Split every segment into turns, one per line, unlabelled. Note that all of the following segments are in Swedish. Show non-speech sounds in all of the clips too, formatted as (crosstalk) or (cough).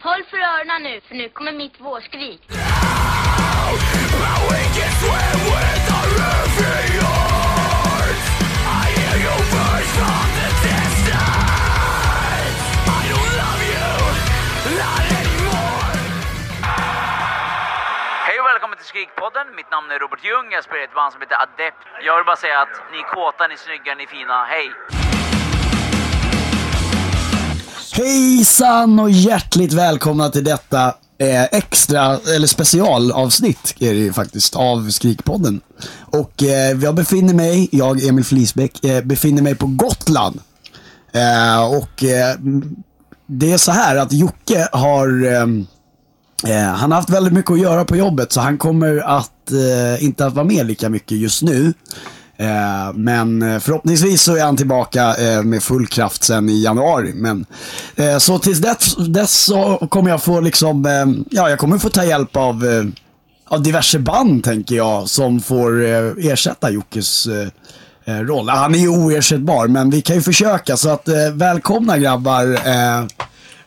Håll för öronen nu, för nu kommer mitt vårskrik.
Hej och välkommen till Skrikpodden. Mitt namn är Robert Ljung. Jag spelar i ett band som heter Adept. Jag vill bara säga att ni är kåta, ni är snygga, ni är fina. Hej!
Hejsan och hjärtligt välkomna till detta eh, extra, eller specialavsnitt är det ju faktiskt, av Skrikpodden. Och eh, jag befinner mig, jag Emil Flisbäck, eh, befinner mig på Gotland. Eh, och eh, m- det är så här att Jocke har, ehm, eh, han har haft väldigt mycket att göra på jobbet så han kommer att eh, inte att vara med lika mycket just nu. Eh, Men eh, förhoppningsvis så är han tillbaka eh, med full kraft sen i januari. Men, eh, så tills dess, dess så kommer jag få liksom, eh, ja jag kommer få ta hjälp av, eh, av diverse band tänker jag som får eh, ersätta Jockes eh, eh, roll. Han är ju oersättbar men vi kan ju försöka så att eh, välkomna grabbar eh,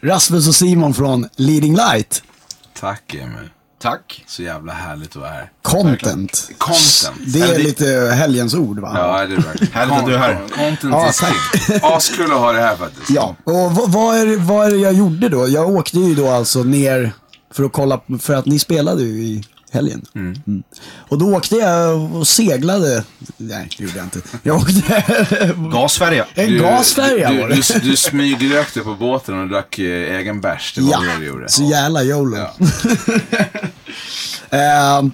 Rasmus och Simon från Leading Light
Tack Emil.
Tack.
Så jävla härligt att vara här.
Content.
Content.
Det är
Eller-
lite helgens ord va?
Ja, det är verkligen.
Härligt att du är här.
Content
Ja,
is king. Askul att ha det här faktiskt.
Ja, och vad, vad, är, det- vad är det jag gjorde då? Jag åkte ju då alltså ner för att kolla, för att ni spelade ju i helgen. Mm. Och då åkte jag och seglade. Nej, det gjorde jag inte. Jag åkte
Gasfärja.
en
(laughs) Du-
gasfärja
du,
var det.
du, du smygrökte på båten och drack eh, egen bärs. Det var
Ja,
det du gjorde.
så jävla jolo. (laughs) Ehm,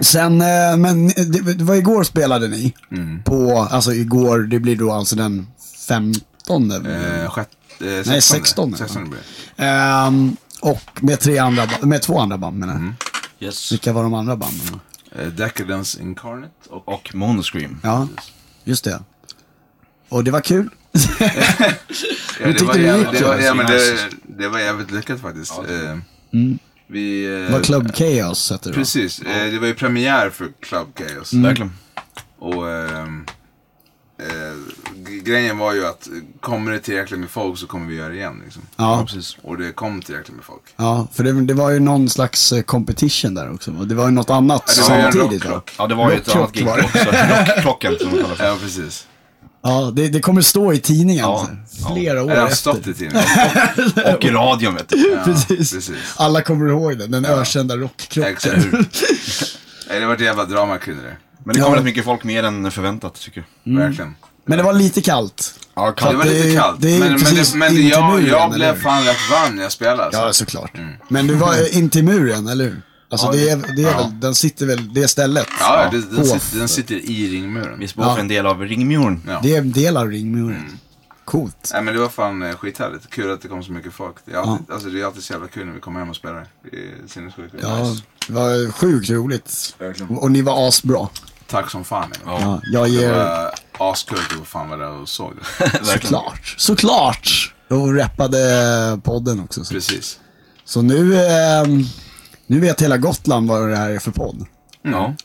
sen, eh, men det, det var igår spelade ni.
Mm.
På, alltså igår, det blir då alltså den 15.
Eh, sjätt, eh,
Nej,
16.
16.
16 blir det.
Ehm, och med, tre andra, ba- med två andra band menar jag.
Mm.
Yes.
Vilka var de andra banden?
Eh, Decadence Incarnate och... eh,
Och Monoscream.
Ja, just det. Och det var kul.
Ja, det,
tyckte
var
det
jävligt,
gick
det,
då?
var, ja, men det,
Nice.
det var jävligt lyckat faktiskt. Eh, Vi... eh,
Mm. Det var Club Chaos hette det va?
Precis. Eh, det var ju premiär för Club Chaos.
Mm.
Verkligen.
Och ehm, eh, g- grejen var ju att eh, kommer det tillräckligt med folk så kommer vi göra det igen. Liksom.
Ja,
precis.
Och det kom tillräckligt med folk.
ja, för det, det var ju någon slags eh, competition där också. Och det var ju något annat
Ja, det var ju en
samtidigt. Va?
rockrock.
Ja, det var ju ett
Rockrock
annat gig
var det.
också. Rockklockan som de kallar för.
Ja, precis.
Ja, det, det kommer stå i tidningen
Ja,
så här, flera år
Eller har
efter.
stått
(laughs)
i tidningen.
Och i radion vet du.
Ja,
Precis.
precis.
Alla kommer ihåg den, den ökända rockkroppen.
Exakt. Nej, det var ett jävla drama kring det.
Men det kom
Ja.
rätt mycket folk, mer än förväntat tycker jag.
Verkligen.
(laughs) Men det var lite kallt.
Ja,
Så
Det var
Mm. att
lite
är-
kallt.
Det är
men
men,
men,
precis
det, men det,
in till
jag,
muren,
jag
eller
blev
hur?
fan rätt varm när jag spelade. Alltså.
Ja, såklart. Men du var eh, in till muren, eller hur? Alltså
Ja,
det är, det är väl, den sitter väl, det stället.
Ja, det, den,
Hof.
sitter, den sitter i ringmuren.
Vi spår för en del av ringmuren.
Ja.
Det är en del av ringmuren.
Mm.
Coolt.
Nej, men det var fan eh, skithärligt. Kul att det kom så mycket folk. Det är alltid, alltså, det är alltid så jävla kul när vi kommer hem och spelar. Det är sinnessjukt.
Ja,
Nice.
det var sjukt roligt.
Verkligen.
Och och ni var asbra.
Tack som fan. Emil.
Ja, jag
Det
ger
var askul att du fan var där och såg det.
såklart. Såklart! Och rappade podden också. Så,
Precis.
så nu, ehm, nu vet hela Gotland vad det här är för podd.
Ja. Mm.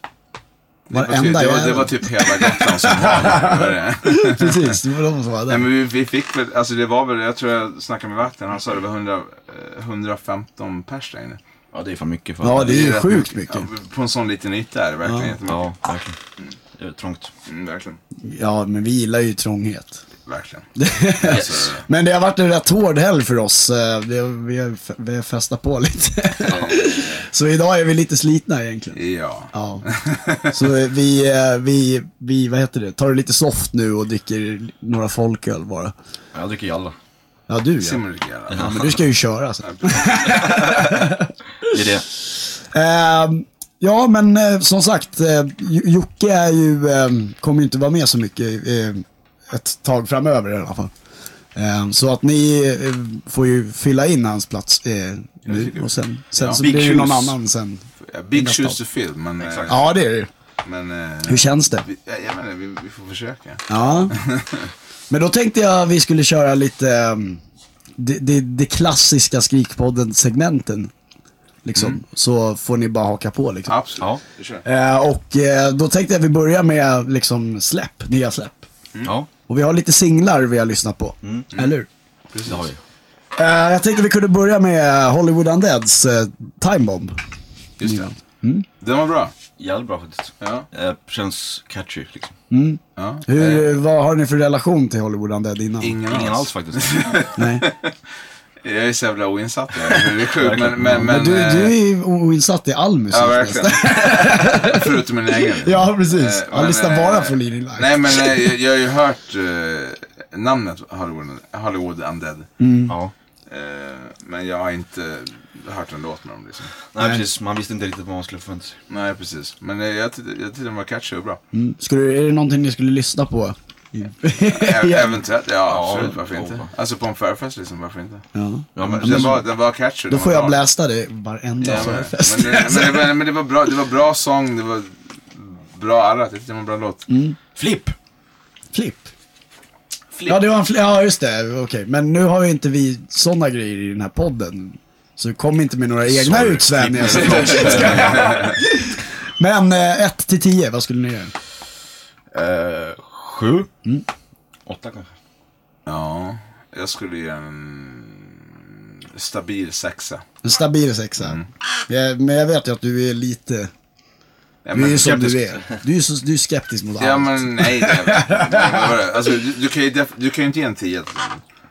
Det var, typ,
Varenda
det, var, det
jävel.
var typ hela Gotland som var där. Det var det. (laughs)
Precis, det var de som var
Nej,
där.
men vi, vi fick väl, alltså det var väl, jag tror jag snackade med vakten, han sa det var 100, eh, 115 pers där inne.
Ja, det är fan mycket för
Ja, det är ju
rätt
sjukt mycket.
Ja, på en sån liten yta är det verkligen jättemycket.
Ja, verkligen. Det är trångt.
Mm, verkligen.
Ja, men vi gillar ju trånghet.
Verkligen. Alltså,
Men det har varit en rätt hård helg för oss. Eh, Vi har, vi har, f- vi har festat på lite. (laughs) Så idag är vi lite slitna egentligen.
ja.
Ja. Så eh, vi, eh, vi, vi, vad heter det, tar det lite soft nu och dricker några folköl bara.
Jag dricker jalla.
Ja, du ja.
Simon dricker gärna.
ja men du ska ju köra alltså. sen.
Det är det.
Ehm, ja, men eh, som sagt, eh, J- Jocke är ju, ehm, kommer ju inte vara med så mycket eh, ett tag framöver i alla fall. Ehm, så att ni eh, får ju fylla in hans plats eh, nu och sen, sen
Ja.
så
Big
blir det ju någon
shoes.
annan sen.
Ja, Big
Nästa
shoes to fill, men... eh,
Ja, det är det.
men eh,
Hur känns det?
vi, ja, jag menar, vi, vi får försöka.
Ja. (laughs) Men då tänkte jag vi skulle köra lite ehm, det, det, det klassiska Skrikpodden-segmenten. Liksom.
Mm.
Så får ni bara haka på liksom.
Absolut.
Ja.
Vi kör.
Eh, och eh, då tänkte jag vi börjar med liksom släpp, nya släpp.
Ja,
Mm.
Och vi har lite singlar vi har lyssnat på. Eller hur?
det har vi.
Eh, jag tänkte vi kunde börja med Hollywood Undeads eh, Time Bomb.
Just det.
Mm.
Den var bra.
Jävligt bra faktiskt.
Ja.
Eh, känns catchy liksom.
ja. Eh,
Hur, vad har ni för relation till Hollywood Undead innan?
ingen,
Ingen alls faktiskt.
(laughs)
Nej.
Jag är så jävla
(laughs)
oinsatt i det här. Det är sjukt. Men, men, men,
Men du,
eh,
du är ju o- oinsatt i all musik.
Ja,
nästan.
verkligen. (laughs) Förutom min egen.
(laughs) ja precis.
Eh,
Han
men,
lyssnar
eh,
bara på Leading Light.
Nej, men eh, jag, jag har ju hört eh, namnet Hollywood, Hollywood Undead.
Mm.
ja.
Eh, men jag har inte hört en låt med dem liksom.
Nej, precis. Man visste inte riktigt vad man skulle förvänta sig.
Nej, precis. Men eh, jag, tyckte, jag tyckte den var catchy
(laughs)
och bra.
Mm. Skulle, du- är det någonting ni skulle lyssna på?
Ä- Eventuellt, ja, absolut. Varför
ja,
inte?
va.
Alltså på en förfest liksom, varför inte?
(laughs) Ja.
Ja, men,
Den var, den var
Då
catchy. den
får
var
jag
bra.
blästa det varenda Alltså,
Ja, men, men,
förfest.
det, men, det, var- men det var bra, det var bra sång, det var bra arrat. Jag tyckte det var en bra låt.
Mm.
Flipp!
Flipp. Ja, det var en fl- ja, just det. Okej, men nu har ju inte vi sådana grejer i den här podden. Så kom inte med några egna
Sorry.
utsvävningar. (laughs)
(laughs)
Flipp.
såklart. Ska jag- men 1 till 10, vad skulle ni göra?
Eh, sju? Åtta kanske.
Ja, jag skulle ge en stabil sexa.
En stabil sexa.
Mm.
Ja, men jag vet ju att du är lite...
Ja,
Du är ju som
skeptisk-
du är. Du är, så, du är skeptisk mot
Ja
allt.
men nej, nej, nej, nej. Alltså, du, du, kan ju def- du kan ju inte ge en 10.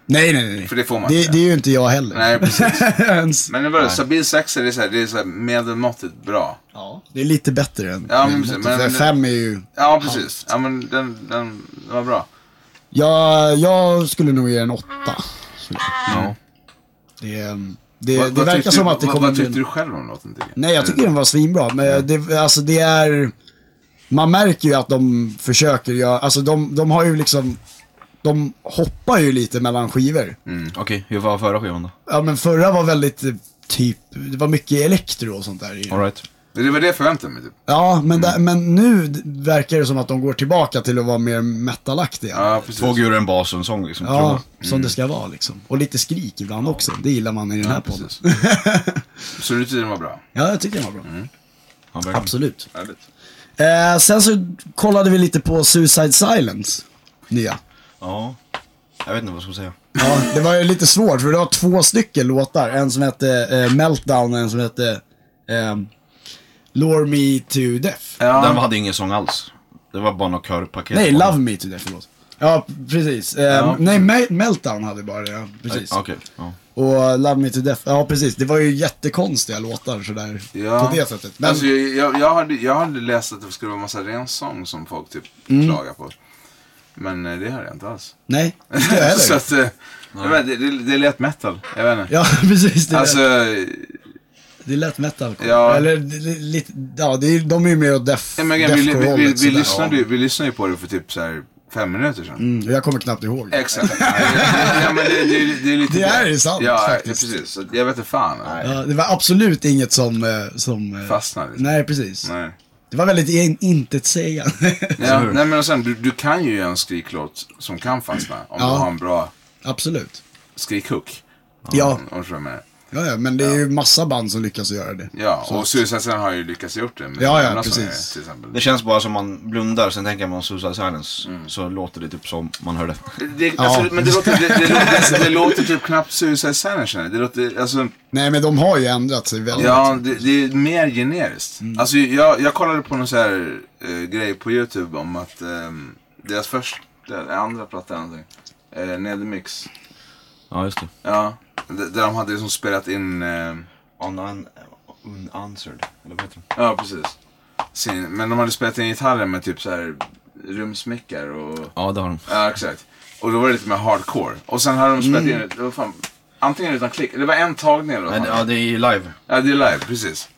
Nej, nej, nej.
För det får man
det,
inte.
det är ju inte jag heller. (laughs)
Nej precis.
Ens.
Men det var stabil sexa, det är, så här, det är så här medelmåttigt bra.
Ja, det är lite bättre än...
Ja, men
än
precis,
något.
men-
För fem är ju...
Ja precis. Ja men den, den var bra.
Jag, jag skulle nog ge en åtta. Skulle jag.
Ja.
Det, är- det,
Vad-
det
vad
verkar
tyckte
som
du-
att det
vad-
kommer
Vad
bli...
tyckte
en-
du själv om låten? tycker
Nej, jag tycker
Eller-
den var svinbra. Men det, alltså det är... Man märker ju att de försöker göra... Alltså de, de har ju liksom... De hoppar ju lite mellan skivor.
Okej, hur var förra skivan då?
Ja, men förra var väldigt eh, typ... Det var mycket elektro och sånt där. i den.
Alright.
Det var det jag förväntade mig typ.
Ja, men, där, men nu d- verkar det som att de går tillbaka till att vara mer metalaktiga.
Ja precis.
Två guror, en bas och en sång liksom. tror jag.
Ja, som det ska vara liksom. Och lite skrik ibland också. Det gillar man i den här podden.
precis. (laughs) Så du tyckte den var bra?
Ja, jag tycker den var bra.
Ja, verkligen.
Absolut.
Härligt.
Eh, sen så kollade vi lite på Suicide Silence. Nya.
Ja. Jag vet inte vad jag ska säga.
Ja, det var ju lite svårt för det var två stycken låtar. En som hette eh, Meltdown och en som hette eh, Lure Me To Death.
Den
Ja,
hade ingen sång alls. Det var bara något körpaket.
Nej, Love Me To Death, förlåt. Ja, precis. Eh, Nej, Me- Meltdown hade bara det, ja, precis.
Okej. ja.
Och Love Me To Death, ja precis. Det var ju jättekonstiga låtar sådär.
ja.
På det sättet. Men,
Alltså, jag, jag, jag, hade, jag hade läst att det skulle vara massa ren sång som folk typ
Mm.
klagar på. Men eh, det hörde jag inte alls.
nej.
(laughs)
Inte jag
Så
heller.
att, eh, jag vet, det, det, det lät metal. Jag vet inte.
Ja, (laughs) precis. Det,
Alltså,
lät,
ja,
det lät metal.
Ja.
Eller det- det- lite, ja, det är, de är ju mer åt death,
men, vi, vi,
deathcore-hållet.
vi, vi,
sådär.
lyssnade, ju- vi lyssnade ju på det för typ så här fem minuter sedan.
liksom. Mm, jag kommer knappt ihåg.
Exakt. ja, men det, det, det är lite
Det är ju sant,
ja,
faktiskt.
Ja, precis. Så att Jag vet inte fan. Nej.
Ja, det var absolut inget som... eh, som eh,
Fastnade liksom.
Nej, precis.
Nej.
Det var väldigt in, intetsägande.
Ja, nej men och sen, du, du kan ju göra en skriklåt som kan fastna om
Ja.
du har en bra
(laughs) absolut.
skrikhook.
Ja,
Om du förstår vad jag menar.
ja, ja, men det är ju massa band som lyckas göra det.
Ja,
Så-
och Suicide Silence har ju lyckats gjort det. med
Ja, ja,
andra sångare,
precis.
Till exempel.
Det känns bara som man blundar, sen tänker man Suicide Silence. Så låter det typ som man hörde.
Det, alltså,
Ja.
Men det låter, det, det, låter, det låter typ knappt Suicide Silence. känner jag. Det låter, alltså,
Nej, men de har ju ändrat sig väldigt.
ja, det, det är mer generiskt.
Mm.
Alltså, jag, jag kollade på någon så här eh, grej på YouTube om att eh, deras första, eller andra platta eller någonting, eh, Nedermix.
Ja, just det.
Ja, d- där de hade liksom spelat in, eh,
Unan- unanswered, eller vad heter det?
ja precis. Sin, men de hade spelat in gitarren med typ så här rumsmickar och
Ja, det har de.
Ja, exakt. Och då var det lite mer hardcore. Och sen hade de spelat
Mm.
in, det var fan, antingen utan klick, det var en tagning eller vad
Men,
fan.
ja, det är ju live.
Ja, det är live, precis.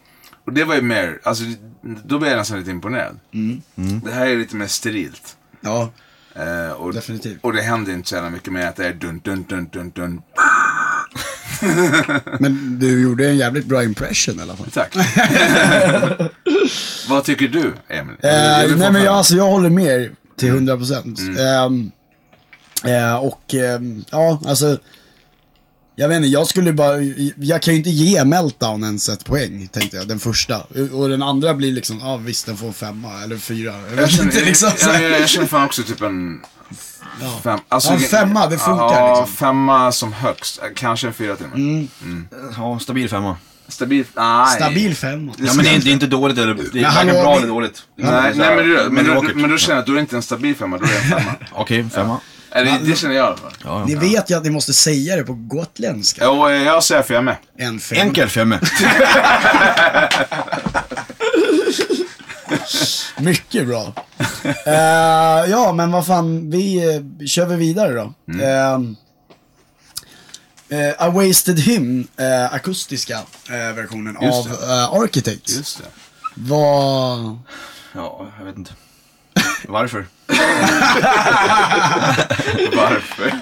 Och det var ju mer, alltså det- då blev jag nästan lite imponerad.
Mm.
Mm. Det här är lite mer sterilt.
Ja,
Eh, och,
Definitivt.
Och det händer inte så jävla mycket mer att det är dun dun dun dun dun.
men du gjorde en jävligt bra impression i alla fall. (laughs)
Tack. vad tycker du, Emil?
Eh, nej
vill få
men jag,
höra.
alltså, jag håller med er till 100 procent. Ehm, eh, och ehm, ja, alltså. Jag vet inte, jag skulle bara, jag kan ju inte ge Meltdown ens ett poäng, tänkte jag, den första. Och den andra blir liksom, ja ah, visst den får en femma eller fyra. Jag
Jag
vet
(laughs) känner,
inte liksom.
jag, jag, jag känner fan också typ en Fem, alltså,
Ja, en femma, det funkar
Ja,
liksom.
femma som högst. Kanske en fyra timmar.
Ja, stabil femma.
Stabilt? Nej.
Stabil femma.
Ja, men det är, det är inte dåligt eller... Det är varken
hallå,
bra
vi-
eller dåligt.
Nej, nej men, du, men,
mediokert.
du, men du känner jag att du är inte en stabil femma, du är en (laughs) femma.
Okej, femma.
Eller, det känner jag i alla fall.
Ja,
Ni
ja.
vet ju att ni måste säga det på gotländska.
Jo, eh, jag säger för jag är med.
En femma.
Enkel femma.
Mycket
(laughs)
bra.
Eh, ja, men vad fan, vi eh, kör vi vidare då.
Mm.
Eh, eh, A Wasted Hymn, eh, akustiska eh, versionen
Just
av
det.
eh, Architects.
Just det.
Vad...
(laughs) Ja, jag vet inte. Varför?
(laughs) Varför?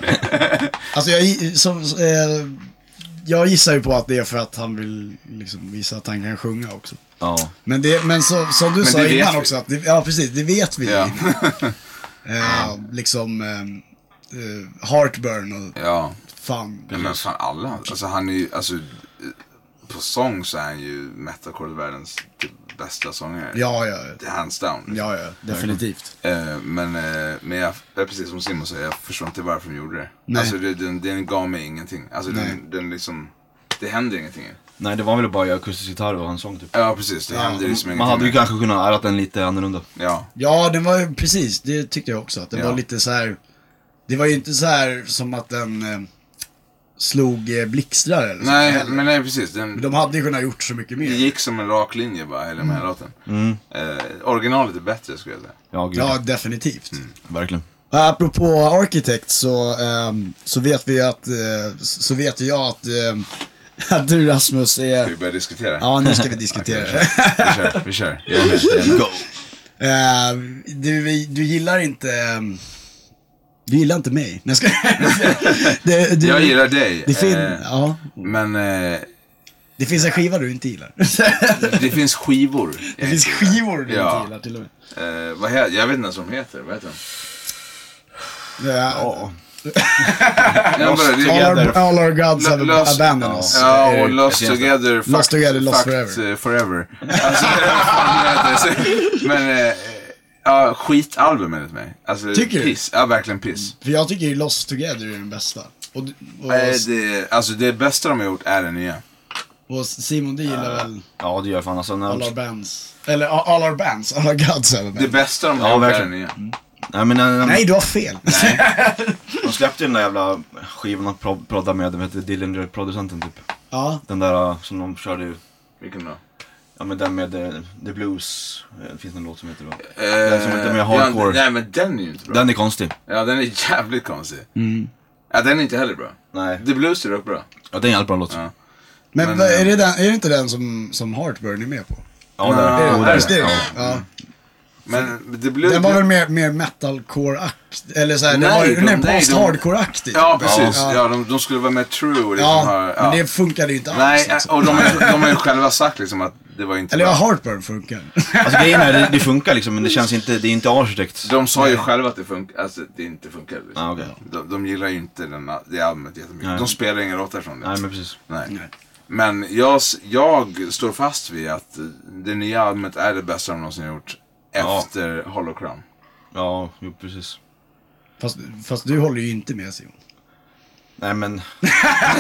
Alltså jag, gi- som, eh, jag gissar ju på att det är för att han vill liksom visa att han kan sjunga också.
Ja.
Men, det, men så, som du sa
det vet
innan
vi.
också, att det, ja precis, det vet vi.
(laughs) Ja.
Eh, liksom eh, eh, Heartburn och
ja.
fan.
Ja, men fan alla. Alltså han är ju, alltså eh, på sång så är han ju metalcore världens typ bästa sångare.
Ja, ja,
Hands down. liksom.
ja, ja definitivt.
Eh, men eh, men jag, jag, precis som Simon säger, jag förstår inte varför de gjorde det.
Nej.
Alltså det, den, den gav mig ingenting. Alltså
Nej.
den, den liksom, det händer ingenting.
Nej, det var väl bara akustisk gitarr och en sång typ.
Ja precis, det händer liksom ingenting.
Man hade ju
där.
kanske kunnat ärat den lite annorlunda.
Ja,
Ja, den var ju precis, det tyckte jag också. Att den
Ja.
var lite så här. Det var ju inte så här som att den eh, slog eh, blixtrar eller så.
nej men nej precis. Den,
De hade ju Mm. kunnat gjort så mycket
det
mer.
gick som en rak linje bara, hela den här låten.
Mm.
Eh, originalet är bättre skulle jag säga.
Ja, gud.
Ja, definitivt.
Mm.
Verkligen.
Apropå Architect så, ehm, så vet vi att, eh, så vet jag att, ehm, (laughs) att du Rasmus
Ska vi
är...
börja diskutera?
Ja, nu ska vi diskutera
(laughs)
det. (laughs)
Vi kör, vi kör. Jag är med.
Go!
Eh, du, du gillar inte... ehm, Du gillar inte mig. Nej, jag skojar. (laughs) Det- du-
Jag gillar dig.
det, fin-
eh,
ja,
Men eh,
det finns en skiva du inte gillar.
det finns skivor.
Det finns skivor du
Ja.
inte gillar till och med.
Eh, vad he- jag vet inte ens vad de heter. Vad heter de?
Eh,
Ja.
Äh,
Jag bara- det-
all, our, all our gods
Lo-
have
lost-
abandoned
ja.
us.
Ja, och
Eh,
Lost
jag ser
Together, fucked,
Lost Together, Lost
fucked,
Forever.
eh, forever. Alltså, (laughs) vad fan det heter. Men, eh, ja, skitalbum enligt mig. Alltså,
Tycker du?
piss. Ja, verkligen piss.
För jag tycker ju Lost Together är den bästa. Och, och,
Eh, det, alltså, det bästa de har gjort är den nya.
och Simon, du gillar väl
Ja, det gör jag fan alltså.
All Our
När,
Bands? Eller a- All Our Bands, All Our Gods have
Det
abandoned us.
bästa de har
Ja,
gjort är
verkligen.
den nya.
nej, men när, när,
Nej, du har fel.
de släppte ju den där jävla skivan de prod- proddade med, vad heter det? Dillinger producenten typ.
(laughs) ja,
Den där eh, som de körde ju.
Vilken då?
Ja men den med eh, The Blues. Eh, Det finns en låt som heter det.
Eh,
Den som inte är med
Ja,
hardcore.
nej, men den är ju inte bra.
Den är Mm. konstig.
Ja, den är jävligt konstig. Ja, den är inte heller bra.
Nej.
The Blues är dock bra.
Ja, det är en jävligt bra låt.
Ja.
Ja,
men,
Men, eh,
vad- är, det den, är det inte den som, som Heartburn är med på?
det
Ja,
är Jo,
Är
det.
det
är
Stereo?
det.
Ja.
Men The Blues...
Mm. Den var väl mer, mer metalcore-akt? Eller såhär, den
Nej,
var
de-
nej,
nej, de-
post-hardcore-aktig.
Ja, precis. Ja, de, de skulle vara mer true. Och liksom
Ja,
ha, ja.
men det funkade ju inte alls.
Nej, eh,
liksom.
och de, har- de har ju själva sagt liksom att det var inte
Eller ja,
bra.
Heartburn funkar.
Alltså grejen är, det, det funkar liksom men det känns inte, det är inte arkitekt.
De sa ju själva att det, fun- alltså, det inte funkar. Liksom.
Ja, Ah, okej.
de, de gillar ju inte den, det albumet jättemycket.
Nej.
De spelar inga låtar från det.
Nej men precis.
liksom. Nej. Men jag, s- jag står fast vid att det nya albumet är det bästa de någonsin har gjort.
Ja.
Efter Hollow Crown.
Ja, jo precis.
Fast, fast du håller ju inte med Simon.
Nej men... (laughs)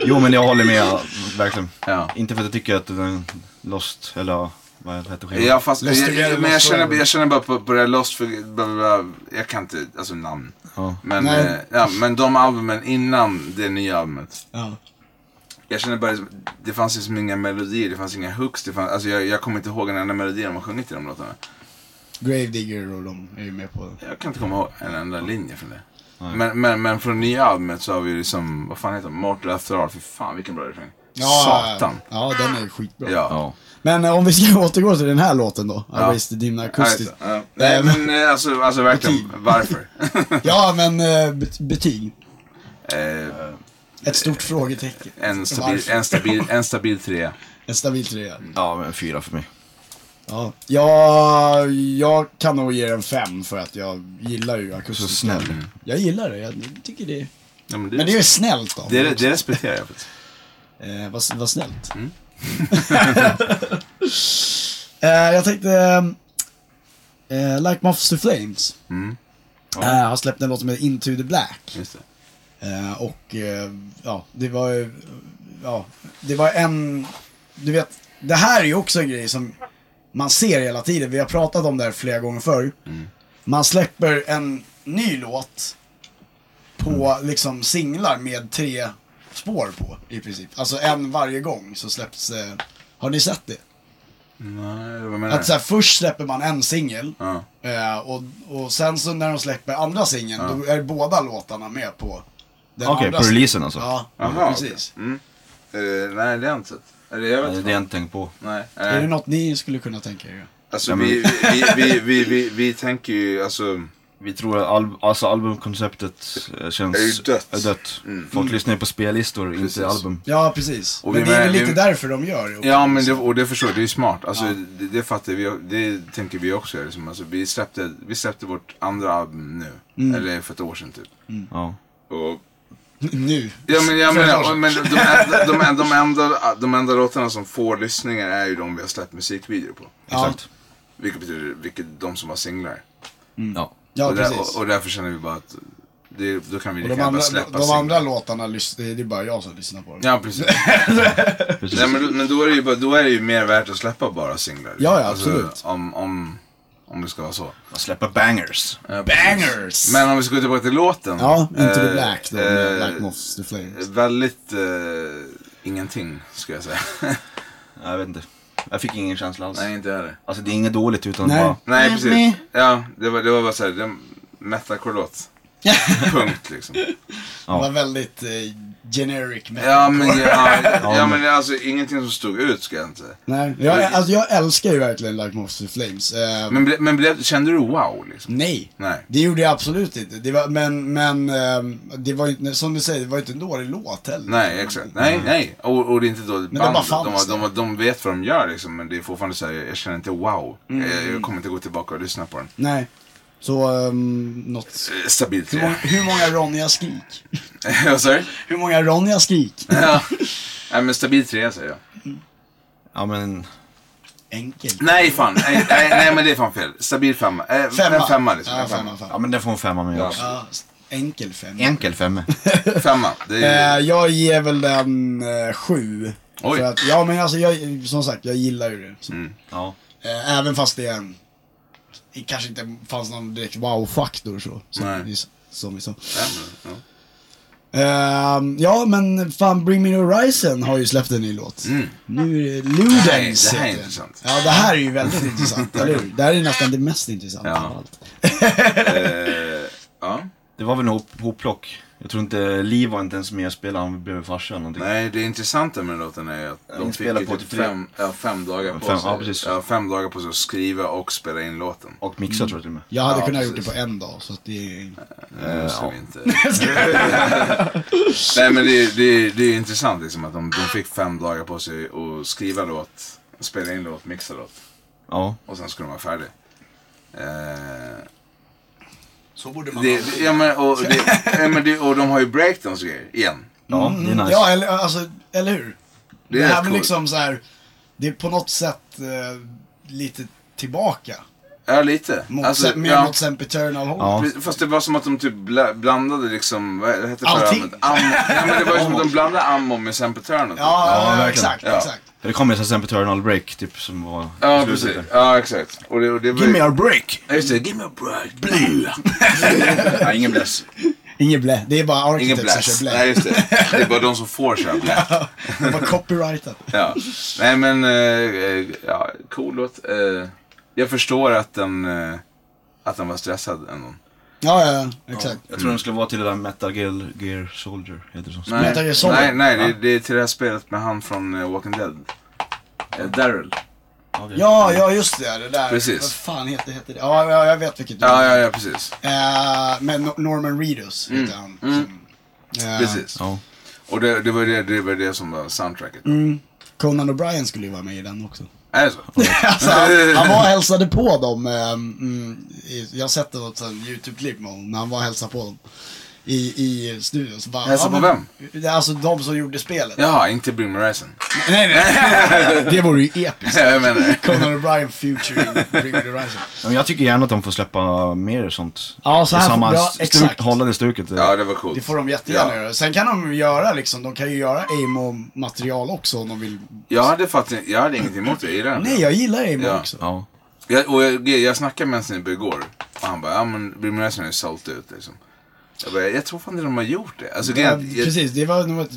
jo men jag håller med, verkligen.
Ja.
Inte för att jag tycker att den Lost, eller ja, vad heter skivan?
Ja, fast, jag,
Lost Together,
jag, men jag
Lost
känner,
Forever.
jag känner bara på, på det här Lost, för, bla, bla, bla, jag kan inte, alltså namn.
Ja.
Men,
Nej.
eh, ja, men de albumen innan det nya albumet.
Ja.
Jag känner bara, det fanns liksom inga melodier, det fanns inga hooks. Det fanns, alltså jag, jag kommer inte ihåg en enda melodi de har sjungit i de låtarna.
Gravedigger och de är ju med på den.
Jag kan inte komma ihåg en enda linje från det. Men, men, men från nya albumet så har vi liksom, vad fan heter det? Mortal After All. Fy fan vilken bra refräng. Satan.
Ja, den är skitbra.
Ja.
Ja.
Men eh, om vi ska (laughs) återgå till den här låten då. I
Ja.
Wasted Dim
Nej,
Acoustic.
ja. Nej (laughs) men eh, alltså, alltså verkligen,
(laughs)
varför?
Ja, men eh, bet- betyg.
eh,
Ett stort frågetecken.
en, stabil,
Varför?
en, stabil, en stabil trea.
En stabil trea.
Ja, men fyra för mig.
Ja. Jag, jag kan nog ge den fem för att jag gillar ju
Så
akustisk.
snäll.
Jag gillar det. Jag tycker det.
Ja, men
Men
det,
det är ju snällt av
det,
mig.
det respekterar jag faktiskt.
Eh, vad, vad snällt. (laughs) eh, jag tänkte... Eh, like Moths to Flames. Eh, han släppte en låt som heter Into the Black.
Just det.
Eh, och eh, ja, det var ju- ja, det var en, du vet, det här är ju också en grej som man ser hela tiden. Vi har pratat om det här flera gånger förr. Man släpper en ny låt på liksom singlar med tre spår på i princip. Alltså en varje gång så släpps, eh, har ni sett det?
Nej, vad menar du?
Att så här, först släpper man en singel
Ja.
eh, och, och sen så när de släpper andra singeln då är båda låtarna med på den
Okej,
andra
på
singeln.
releasen alltså?
Ja,
Jaha,
precis.
okej. Mm. Eh, nej, det har jag inte sett. Eller jag vet
Nej,
inte.
det har jag inte tänkt på.
Nej.
Är det
nej.
något ni skulle kunna tänka er?
Alltså,
Ja, men-
vi, vi, vi, vi, vi, vi tänker ju, alltså.
Vi tror att al- alltså albumkonceptet eh, känns...
Är ju dött. Mm.
är dött. Folk lyssnar ju på spellistor,
Precis.
inte album.
Ja, precis.
Och
men
vi
det är
med-
väl lite
vi-
därför de gör det. också.
Ja, men det, och det förstår jag. Det är ju smart. Alltså, det, det fattar vi. Det tänker vi också. Liksom. Alltså, vi, släppte, vi släppte vårt andra album nu. Eller för ett år sedan typ.
Ja.
Mm. Och,
(laughs) Nu.
ja, men, ja,
För ett år
men,
sedan.
men de, enda- de, enda- de, enda, de enda låtarna som får lyssningar är ju de vi har släppt musikvideor på.
Ja,
Exakt.
Vilket betyder vilket, de som har singlar.
Ja.
ja
och, där,
precis.
och,
Och,
och därför känner vi bara att det, då kan vi
de
lika gärna bara
andra,
släppa
de
singlar.
andra låtarna, lys- det är bara jag som lyssnar på dem.
Ja, precis.
Precis.
Nej, men, då- men då, är det ju, bara- då är det ju mer värt att släppa bara singlar. Alltså,
Ja, ja, absolut.
Om, om, om det ska vara så.
Att släppa bangers.
Eh,
Bangers!
Men om vi ska gå tillbaka till låten.
Ja, Into the
Eh,
Black då, med
eh,
Black Moths, The Flames.
Väldigt eh, ingenting, skulle jag säga.
Nej, Jag vet inte. Jag fick ingen känsla
(laughs)
alls.
Nej, inte heller.
Alltså det är inget dåligt utan
Nej.
bara...
Nej, precis. Ja, det var, det var bara såhär, det (laughs) metalcore-låt. Punkt liksom.
Det var väldigt eh, generic metal.
Ja men, ja, (laughs) ja, men det är alltså ingenting som stod ut ska jag inte.
Nej, jag, alltså, jag älskar ju verkligen Like Moths to Flames. Eh,
Men, ble, men blev, kände du wow liksom?
nej,
Nej.
det gjorde jag absolut inte. Det var, men men ehm, det var ju, inte- som du säger, det var ju inte en dålig låt heller.
Nej, exakt. Nej, nej. Och, och det är inte dåligt
Mm. Men de
band.
bara
De,
fanns
de, de, de vet vad de gör liksom, men det är fortfarande såhär, jag känner inte wow.
Mm.
Jag, jag kommer inte gå tillbaka och lyssna på den.
Nej. Så, um, något.
Eh, Stabilt (laughs)
Hur många,
tre.
hur många Ronja skrik?
Vad sa du?
Hur många Ronja skrik?
Ja. Nej men stabil trea säger jag.
Ja men...
Enkel.
Nej fan, nej, nej, nej men det är fan fel. Stabil femma. Eh,
Femma.
En femma liksom.
Ja,
en femma.
femma, femma.
Ja men det får en femma med
Ja.
också.
Ja, s- enkel femma.
Enkel femma.
Femma. Det är,
Eh, jag ger väl den eh, sju.
Oj. Mm.
För att, ja men alltså jag, som sagt, jag gillar ju det. Så,
Ja.
eh, även fast det är en, det kanske inte fanns någon direkt wow-faktor så. Som,
Nej.
vi, som vi sa.
Ja, men, ja.
Ehm, ja men fan Bring Me The Horizon har ju släppt en ny låt. Nu är det Ludens.
Mm. Det
heter
här är
den.
intressant.
Ja det här är ju väldigt intressant, eller hur? Det här är nästan det mest intressanta
Ja.
av allt.
Eh, ja.
Det var väl en hop- hopplock. Jag tror inte Liv var inte ens med och spelade, han blev farsa eller någonting.
Nej, det intressanta med den låten är ju att de
den
fick
spelar
ju
på
typ
tre-
fem, ja, fem dagar på
Fem-
sig.
ja, precis.
fem dagar på sig att skriva och spela in låten.
Och mixa tror jag till och med. Eh,
Jag hade
Ja,
kunnat gjort
precis.
det på en dag så att det är...
Nu ska vi inte... (laughs) Nej men det, är- det, är- det är ju intressant liksom att de, de fick fem dagar på sig att skriva låt, spela in låt, mixa låt.
Ja.
Mm.
Och sen skulle de vara färdiga. Eh,
Så borde man
det, det, ja, men, och, det, ja, men det, och de har ju breakdowns och grejer igen.
Ja, det är nice.
Ja eller, alltså, eller hur?
Det
Det,
är rätt
här med
coolt.
liksom så här, det är på något sätt eh, lite tillbaka.
Ja lite.
Mot,
Alltså,
mer
ja.
mot Sempiternal håll.
Ja.
Precis, Fast det var som att de typ bla- blandade liksom, vad hette det
Allting.
Ammo. Ja, men det var ju som att de blandade ammo med Sempiternal. typ.
Ja,
Ja,
ja,
verkligen.
exakt,
Ja.
exakt.
Det kom ju sen Eternal Break typ som var
ja
i slutet
precis. Ja exakt. Och det, och det var ju...
a break!
Ja, Just det, give me a break. (laughs) Blah.
där. Ja, ingen bless.
Ingen blä, det är bara
Ingen
Architects som
blast.
kör
Nej
blä.
just det. Det är bara de som får köra blast.
Det är bara copyrightat.
Ja. Nej men, eh, eh, ja, cool låt. Eh, jag förstår att den, eh, att den var stressad ändå.
Ja, ja, ja, exakt.
Jag tror den skulle vara till det där Metal Gear, Gear Soldier heter det som.
Nej,
Metal Gear Solid.
nej, nej det, det är till det här spelet med han från eh, Walking Dead. Eh, Daryl.
okej.
Ja, ja, just det. Det där.
Precis.
Vad fan heter, heter det? Ja, ja, jag vet vilket du
Ja, ja, ja precis.
Eh, Men No- Norman Reedus heter han. som- Eh,
Mm. Precis.
Ja.
Och det, det, var ju det, det var det som var soundtracket.
Mm. Conan O'Brien skulle ju vara med i den också. (laughs)
Är det så?
alltså, han, han var och hälsade ehm, på dem. eh, mm, i- jag har sett det på ett sånt YouTube-klipp med honom när han var och hälsade på dem. i, i studion. Så bara,
Hälsa på
men- Det är Alltså de som gjorde spelet.
Jaha, inte Brim Horizon.
(laughs)
(laughs)
Nej, nej. det vore ju episkt.
Jag menar det.
Conan O'Brien featuring Bring Me The Horizon.
Men jag tycker gärna att de får släppa mer sånt.
Ja, så här
I samma
får- ja,
stuk,
exakt.
Hålla det stuket.
Ja, det var coolt.
Det får de jättegärna
ja.
göra. Sen kan de göra liksom, de kan ju göra Amo-material också om de vill.
Jag hade faktiskt, jag hade ingenting emot det. Jag gillar den.
Nej, jag gillar Amo
Ja.
också.
Ja.
Jag, och jag, jag snackade med en snubbe igår. Och han bara, ja men Brim Horizon har ju sålt ut liksom. Jag bara, jag tror fan inte de har gjort det. Alltså,
Ja,
jag, jag,
precis, det var nog ett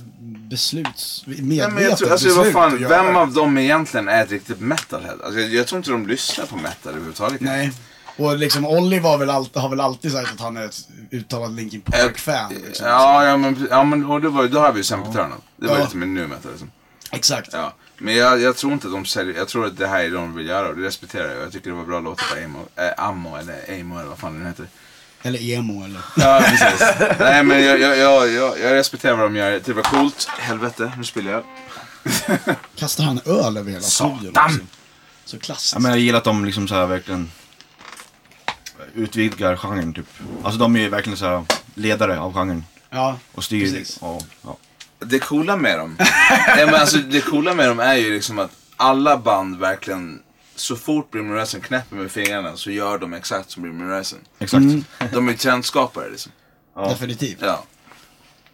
besluts...
Nej, men jag
Medvetet
tror, alltså, vad
beslut
fan,
att göra
vem
det.
av dem egentligen är ett riktigt metalhead? Alltså, jag, jag tror inte de lyssnar på metal överhuvudtaget.
Nej. Och liksom Olli var väl alltid, har väl alltid sagt att han är ett uttalat Linkin
Eh,
Park-fan. Liksom.
Ja, ja, men, ja, men och det var, då har vi ju Sempiterna. Det var
Ja.
lite mer nu metal liksom.
Exakt.
Ja. Men jag, jag tror inte att de säljer, jag tror att det här är det de vill göra och det respekterar jag. Jag tycker det var bra låtar på Amo, eh, Ammo eller Amo eller vad fan den heter.
Eller emo eller...
(laughs) Ja, precis. Nej, men jag, jag, jag, jag, jag respekterar vad de gör. Jag tycker det var coolt. Helvete, nu spiller jag.
Kastar han öl över hela studion?
Satan!
också? Så klassiskt.
Ja, men jag gillar att de liksom så här verkligen utvidgar genren typ. Alltså de är ju verkligen så här ledare av genren
ja,
och styr.
Precis.
Och, ja.
Det coola med (laughs) dem. Nej, men alltså, det coola med dem är ju liksom att alla band verkligen. Så fort Brim Horizon knäpper med fingrarna så gör de exakt som Brim Horizon.
Exakt.
De är trendskapare liksom.
Ja.
definitivt.
Ja.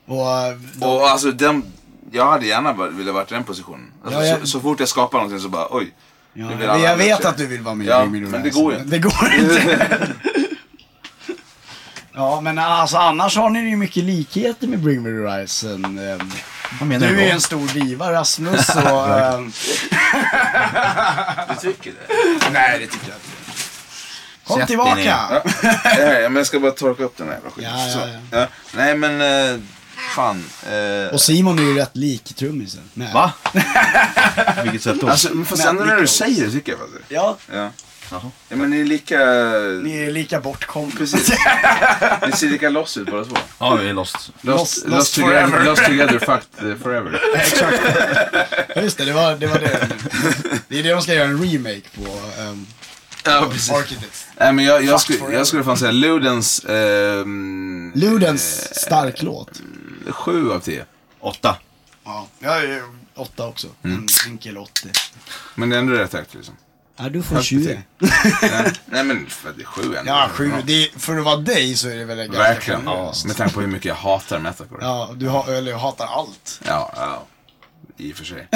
Och, eh,
Och alltså dem. Jag hade gärna var- velat varit i den positionen. Alltså,
Ja, jag-
Så, så fort jag skapar någonting så bara oj.
ja,
vill
men
alla
jag vet
matcher.
att du vill vara med
Ja,
i Bring Me The
men det
Horizon.
går ju inte.
Det går inte.
(laughs)
ja, men alltså annars har ni ju mycket likheter med Bring Me The Horizon. Eh,
Vad menar
Du
du
är
då?
en stor diva
(laughs)
Rasmus och... eh,
Du tycker det? Nej det tycker jag inte.
Kom
Sätt dig
tillbaka!
ner.
Ja, ja, men jag ska bara torka upp den här jävla skiten.
Ja, ja,
Så.
ja.
Ja. Nej men eh, fan. eh,
Och Simon är ju rätt lik trummisen. Nej.
Va?
(laughs)
Vilket sätt då?
Alltså, men fast
Men-
ändå när du säger det tycker jag faktiskt.
Ja,
Ja.
Jaha.
ja men ni är lika...
ni är lika bortkomna.
(laughs) Precis. Ni ser lika lost ut båda två.
Ja, vi är lost.
Lost- lost forever.
together, lost together fucked eh, forever.
Ja, Just det, det var det. Var det. det är det de ska göra en remake på. Um,
Ja, precis.
Architects.
Nej, men jag, jag,
Fucked
skulle,
forever.
jag skulle fan säga Ludens... ehm,
Ludens stark låt.
eh, Sju av tio.
Åtta.
Ja, jag är ju åtta också.
Mm.
En enkel 80.
Men det är ändå rätt högt liksom.
Ja, du får 20.
Nej, Nej men för det är sju ändå.
Ja, sju. Det är, för att vara dig så är det väl ganska
Verkligen.
generöst.
Med tanke på hur mycket jag hatar metalcore. Ja,
Ja, du har, eller jag hatar allt.
ja. I och
(laughs)
för sig.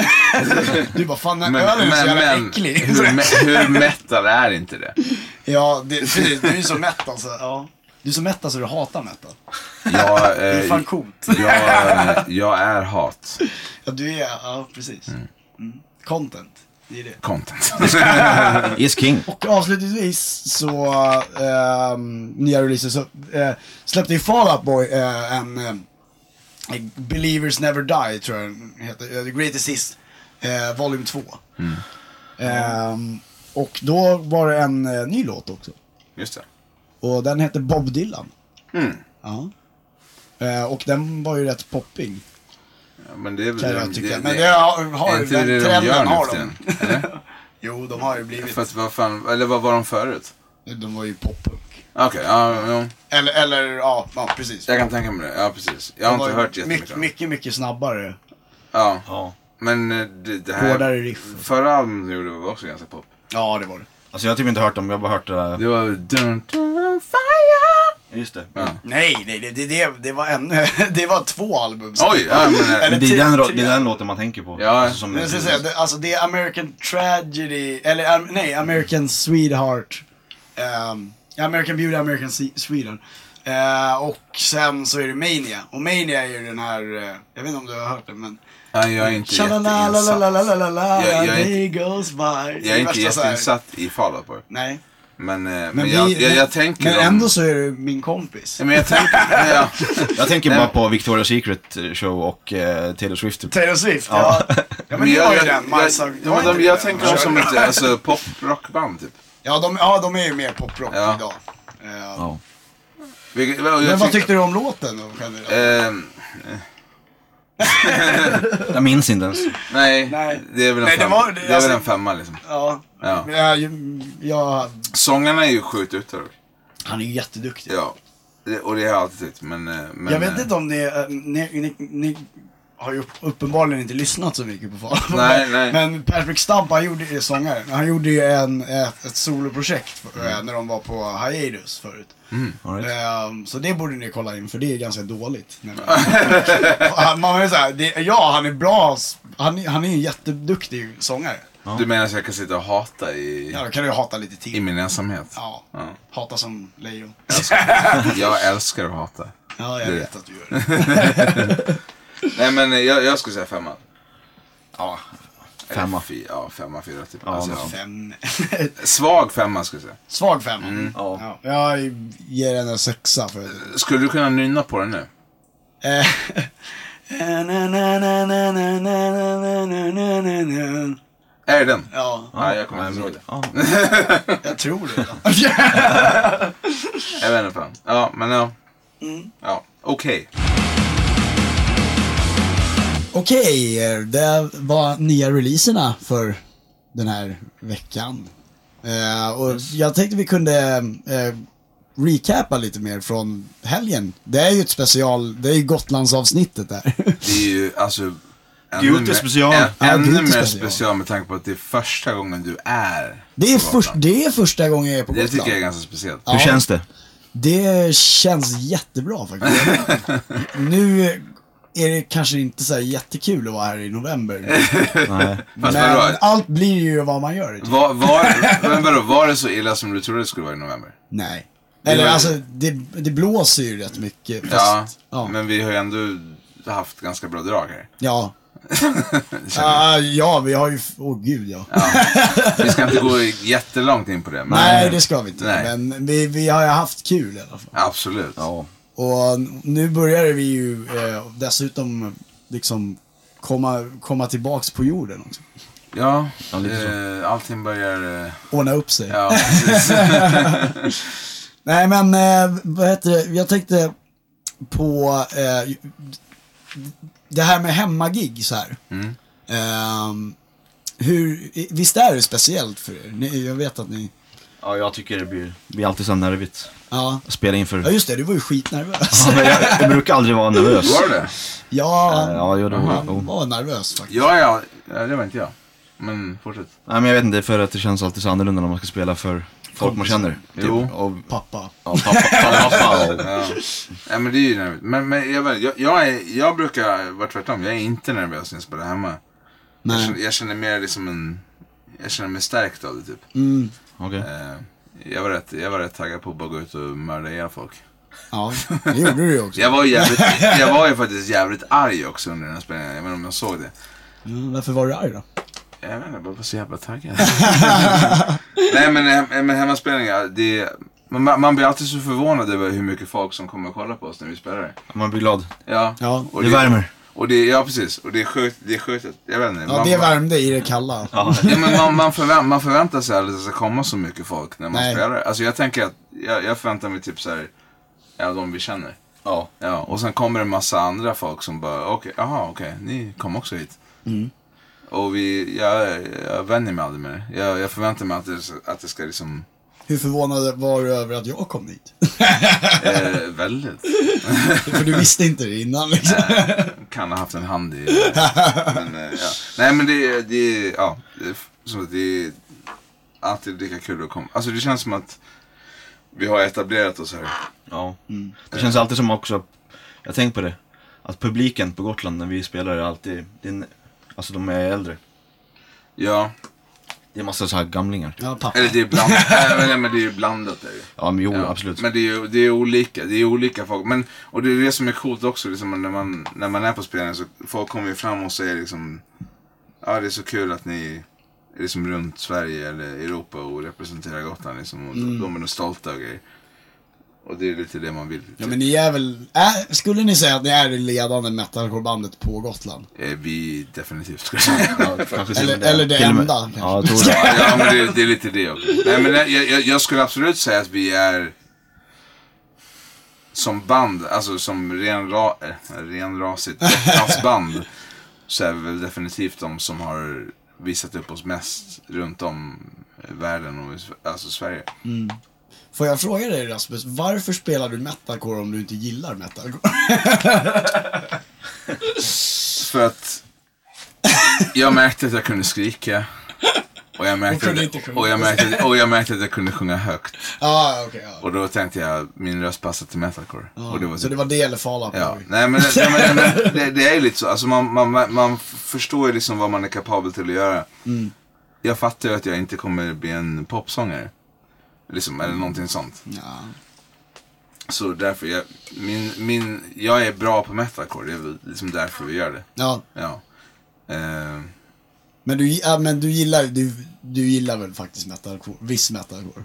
Du bara, fan den
Men,
ölen är så
men,
jävla
men
äcklig.
(laughs) hur, me- hur metal är inte det?
(laughs) Ja, det, precis. Du är ju så mätt alltså. Ja. Du är så mätt alltså du hatar metal.
Jag,
(laughs) Det är
eh,
fan coolt.
jag, eh, jag är hat.
Ja, du är, ja precis. Mm. Content, det är det. (laughs)
content.
Is King.
Och avslutningsvis så, eh, nya releaser, så eh, släppte ju Fall Out Boy eh, en eh, Believers Never Die tror jag den heter, eh, The Greatest Hits, eh, volym 2.
Mm.
Ehm, och då var det en eh, ny låt också.
Just det.
Och den hette Bob Dylan.
Mm.
Ja. Eh, och den var ju rätt popping.
Ja, men det är väl
Kan jag
de-
tycka. Men det har, har
är inte det
den
de
trenden
gör nu
har
för
de. (laughs)
tiden? Eller?
Jo, de har ju blivit.
För att vad fan, eller vad var de förut?
De var ju poppunk.
Okej, ja, ja,
Eller, eller ja, ja, precis.
jag kan tänka mig det. Ja, precis. Jag har
De
inte
var ju
hört jättemycket.
Mycket, mycket, mycket snabbare.
Ja,
Ja.
men eh, det, det här...
Hårdare riff.
Förra albumet de gjorde var också ganska pop.
Ja, det var det.
Alltså jag har typ inte hört dem, jag har bara hört det där.
Det var dun, dun, fire.
Just det.
Ja.
Nej, nej, det, det, det, det var ännu... (laughs) Det var två album. sen.
Oj, ja, men,
(laughs)
eh,
Eller
Men det,
tre-
är den, ro-
tre-
det är den låten man tänker på.
Ja.
Alltså, som-
Men jag ska säga, det, alltså det är American Tragedy, eller um, nej, American Sweetheart. Ehm, American Beauty, American Se- Sweden. Eh, och sen så är det Mania. Och Mania är ju den här, eh, jag vet inte om du har hört den men...
nej, jag är inte jätteinsatt.
Tjalalalalalalalala,
Jag- jag är
day goes by.
Jag är inte
värsta så här-
jätteinsatt i Fall Out Boy.
Nej.
Men, eh, men,
Men, vi,
jag, jag, jag tänker
men
dem-
ändå så är du min kompis.
Ja, (laughs) men
(laughs)
jag tänker... ja.
Jag tänker
Nej.
bara på Victoria's Secret show och eh, Taylor Swift. typ.
Taylor Swift, ja. ja. men det var ju den.
jag,
Miles
jag,
Sug- det var
ja,
inte
de,
det.
jag tänker dem som
Kör.
ett alltså, poprockband typ.
Ja, de, ja, de är ju mer poprock
Ja.
idag. Eh,
Ja.
Vilket, jag,
Men vad tyckte du om låten då generellt?
Ehm,
Jag minns inte ens.
nej,
Nej.
det är väl en,
Nej, det
femma.
var-
det, är
alltså-
väl en femma liksom.
Ja.
Ja.
Men Jag, jag,
Sångarna är ju sjukt ute dock.
han är ju jätteduktig.
Ja. Det- Och det har jag alltid tyckt. Men, eh, men,
Jag vet
eh,
inte om det är, eh, ni, ni, ni har ju uppenbarligen inte lyssnat så mycket på Falun.
Nej, nej.
Men Per Stamp, han gjorde, är sångaren, han gjorde ju en, ett, ett soloprojekt eh, när de var på hiatus förut.
All right.
Ehm, så det borde ni kolla in för det är ganska dåligt.
(laughs)
Nej, men- Han- Man är så här, det, ja han är bra, s- han, är- han är ju en jätteduktig sångare.
Du menar så jag kan sitta och hata i,
Ja, då kan du ju hata lite
i
till.
min ensamhet?
Ja,
Ja.
hata som lejon.
Jag älskar att hata.
Ja, jag
Det-
vet att du gör det.
Nej men eh, jag, jag skulle säga femma.
Ja.
Eller
Femma.
fy- ja, femma, fyra typ.
Ja,
alltså,
något sånt.
Fem. (laughs)
Svag femma skulle jag säga.
Svag femma.
Mm.
Ja.
Ja, jag ger den en sexa för
Skulle du kunna nynna på den nu?
Eh, (laughs)
Är det den?
Ja,
Nej, jag kommer inte ihåg det.
Ja.
jag tror det.
Jag vet inte fan. Ja, men ja. Ja, okej.
Okej, eh, det var nya releaserna för den här veckan. Eh, och jag tänkte vi kunde eh, recapa lite mer från helgen. Det är ju ett special, det är ju Gotlandsavsnittet
(laughs)
där.
Det är ju alltså... ännu
Guilty
mer-
special.
ä-
Ja,
Ännu
Guilty
mer
special.
special med tanke på att det är första gången du är
Det är,
på Gotland.
först, det är första gången jag är på
Det
Gotland.
tycker jag är ganska speciellt. (laughs)
Hur känns det?
Det känns jättebra faktiskt.
(laughs)
nu är det kanske inte så här jättekul att vara här i
(laughs)
november.
Nej.
Fast
Men
vadå?
allt blir ju vad man gör. typ.
Var, var, men vadå, var det så illa som du trodde det skulle vara i november?
Nej. Eller
Det var-
alltså, det, det blåser ju rätt mycket.
Ja,
Fast, ja.
men vi har ju ändå haft ganska bra drag här. (laughs)
Ja. Ah, ja, vi har ju... Åh gud ja.
Vi ska inte gå jättelångt in på det. Men
Nej, det ska vi inte.
Nej.
Men vi, vi har ju haft kul i alla fall.
Absolut.
Ja.
Och nu börjar vi ju eh, dessutom liksom komma, komma tillbaks på jorden också.
Ja,
Ja, lite så.
eh, allting börjar... Eh,
Ordna upp sig.
ja, precis.
Nej men, eh, vad heter det, jag tänkte på eh, det här med hemmagig så här. Ehm, hur, i- visst är det speciellt för er? Ni, jag vet att ni,
ja, jag tycker det blir, blir alltid så här nervigt.
ja.
Att Spela inför...
Ja just det, du var ju skitnervös.
Ja, men jag, jag brukar aldrig vara nervös.
Var det
(laughs) ja,
Eh, Ja, jo, det var,
han
jo.
var nervös faktiskt.
ja, ja, ja, det var inte jag. Men fortsätt.
Nej, men jag vet inte, för att det känns alltid så annorlunda när man ska spela för folk man känner. Typ.
Jo.
Och,
Pappa.
ja, pappa, pappa, (laughs) och,
Ja. ja, men det är ju nervigt. Men, men jag, vet- jag, jag, är, jag brukar vara tvärtom. Jag är inte nervös när jag spelar hemma. Jag känner,
Nej.
jag känner mer liksom en... Jag känner mig stärkt av det typ.
Mm,
okej.
Eh, jag, var rätt, jag var rätt taggad på att bara gå ut och mörda ihjäl folk.
ja, det gjorde du ju
(laughs)
också.
Jag var,
(laughs)
ju jävligt, jag var ju faktiskt jävligt arg också under den här spelningen. Jag vet inte om jag såg det.
Mm, varför var du arg då?
Jag vet inte, jag bara var så
(laughs)
jävla taggad. Nej men, eh, men hemmaspelningar, det man, man blir alltid så förvånad över hur mycket folk som kommer och kollar på oss när vi spelar.
Man blir glad.
Ja,
Ja,
och
det värmer.
Och det, ja precis, och det är sjukt, det är sjukt att, jag vet inte.
Ja, det värmde i det kalla.
Ja, men man, man, förvä- man förväntar sig aldrig att det ska komma så mycket folk när man
Nej.
spelar. Alltså jag tänker att, jag, jag förväntar mig typ så här, ja de vi känner.
Ja.
Ja, och sen kommer det en massa andra folk som bara, okej, jaha, okej, ni kom också hit.
Mm.
Och vi, jag, jag vänjer mig aldrig med det. Jag, jag förväntar mig att det, att det ska
(laughs)
liksom,
Hur förvånad var du över att jag kom dit? (laughs)
eh, väldigt,
För du visste inte det innan liksom.
kan ha haft en hand i, men eh, ja. Nej men det, det, ja, det, är f- som att det är alltid lika kul att komma. Alltså det känns som att vi har etablerat oss här.
Ja.
Mm.
Det känns alltid som också, jag tänker på det, att publiken på Gotland när vi spelar är alltid, det är, en- alltså de är äldre.
Ja,
Det är massa så här gamlingar.
Ja, pappa.
eller det är blandat, nej men- men det är ju blandat där ju.
Ja, men jo,
Ja,
absolut.
Men det är, ju- det är olika, det är olika folk. Men, och det är det som är coolt också, liksom, när, man, när man är på spelningen så folk kommer ju fram och säger liksom, ja det är så kul att ni är liksom runt Sverige eller Europa och representerar Gotland liksom. Och de är nog stolta och grejer. Och det är lite det man vill.
Ja men ni är väl, är, skulle ni säga att ni är det ledande metalcorebandet på Gotland?
Eh, Vi definitivt (laughs) skulle säga.
Ja, kanske till och
Eller-
med-
eller det
till och med-
enda, kanske.
Ja, jag
(laughs)
tror det.
Ja men det, det är lite det också. Nej men jag, jag, jag skulle absolut säga att vi är som band, alltså som ren, ra, eh, renrasigt band så är vi väl definitivt de som har visat upp oss mest runt om världen och i Sve- alltså Sverige.
Får jag fråga dig Rasmus, varför spelar du metalcore om du inte gillar metalcore? (laughs)
För att jag märkte att jag kunde skrika. Och jag
Och
märkte,
kunde
att,
inte sjunga.
och jag märkte, och jag märkte att jag kunde sjunga högt.
ah, okej. ja.
Och då tänkte jag, min röst passar till metalcore. Och det var
Så
typ-
det var det eller Fala på
Ja, nej men, nej, men,
(laughs)
men det, det är ju lite så. Alltså man, man, man förstår ju liksom vad man är kapabel till att göra.
Mm.
Jag fattar ju att jag inte kommer bli en popsångare. Liksom, eller någonting sånt.
Ja.
Så därför, jag, min, min, jag är bra på metalcore. Det är väl liksom därför vi gör det.
ja.
Ja. Eh,
Men du, ja, men du gillar du, du gillar väl faktiskt metalcore? Viss metalcore?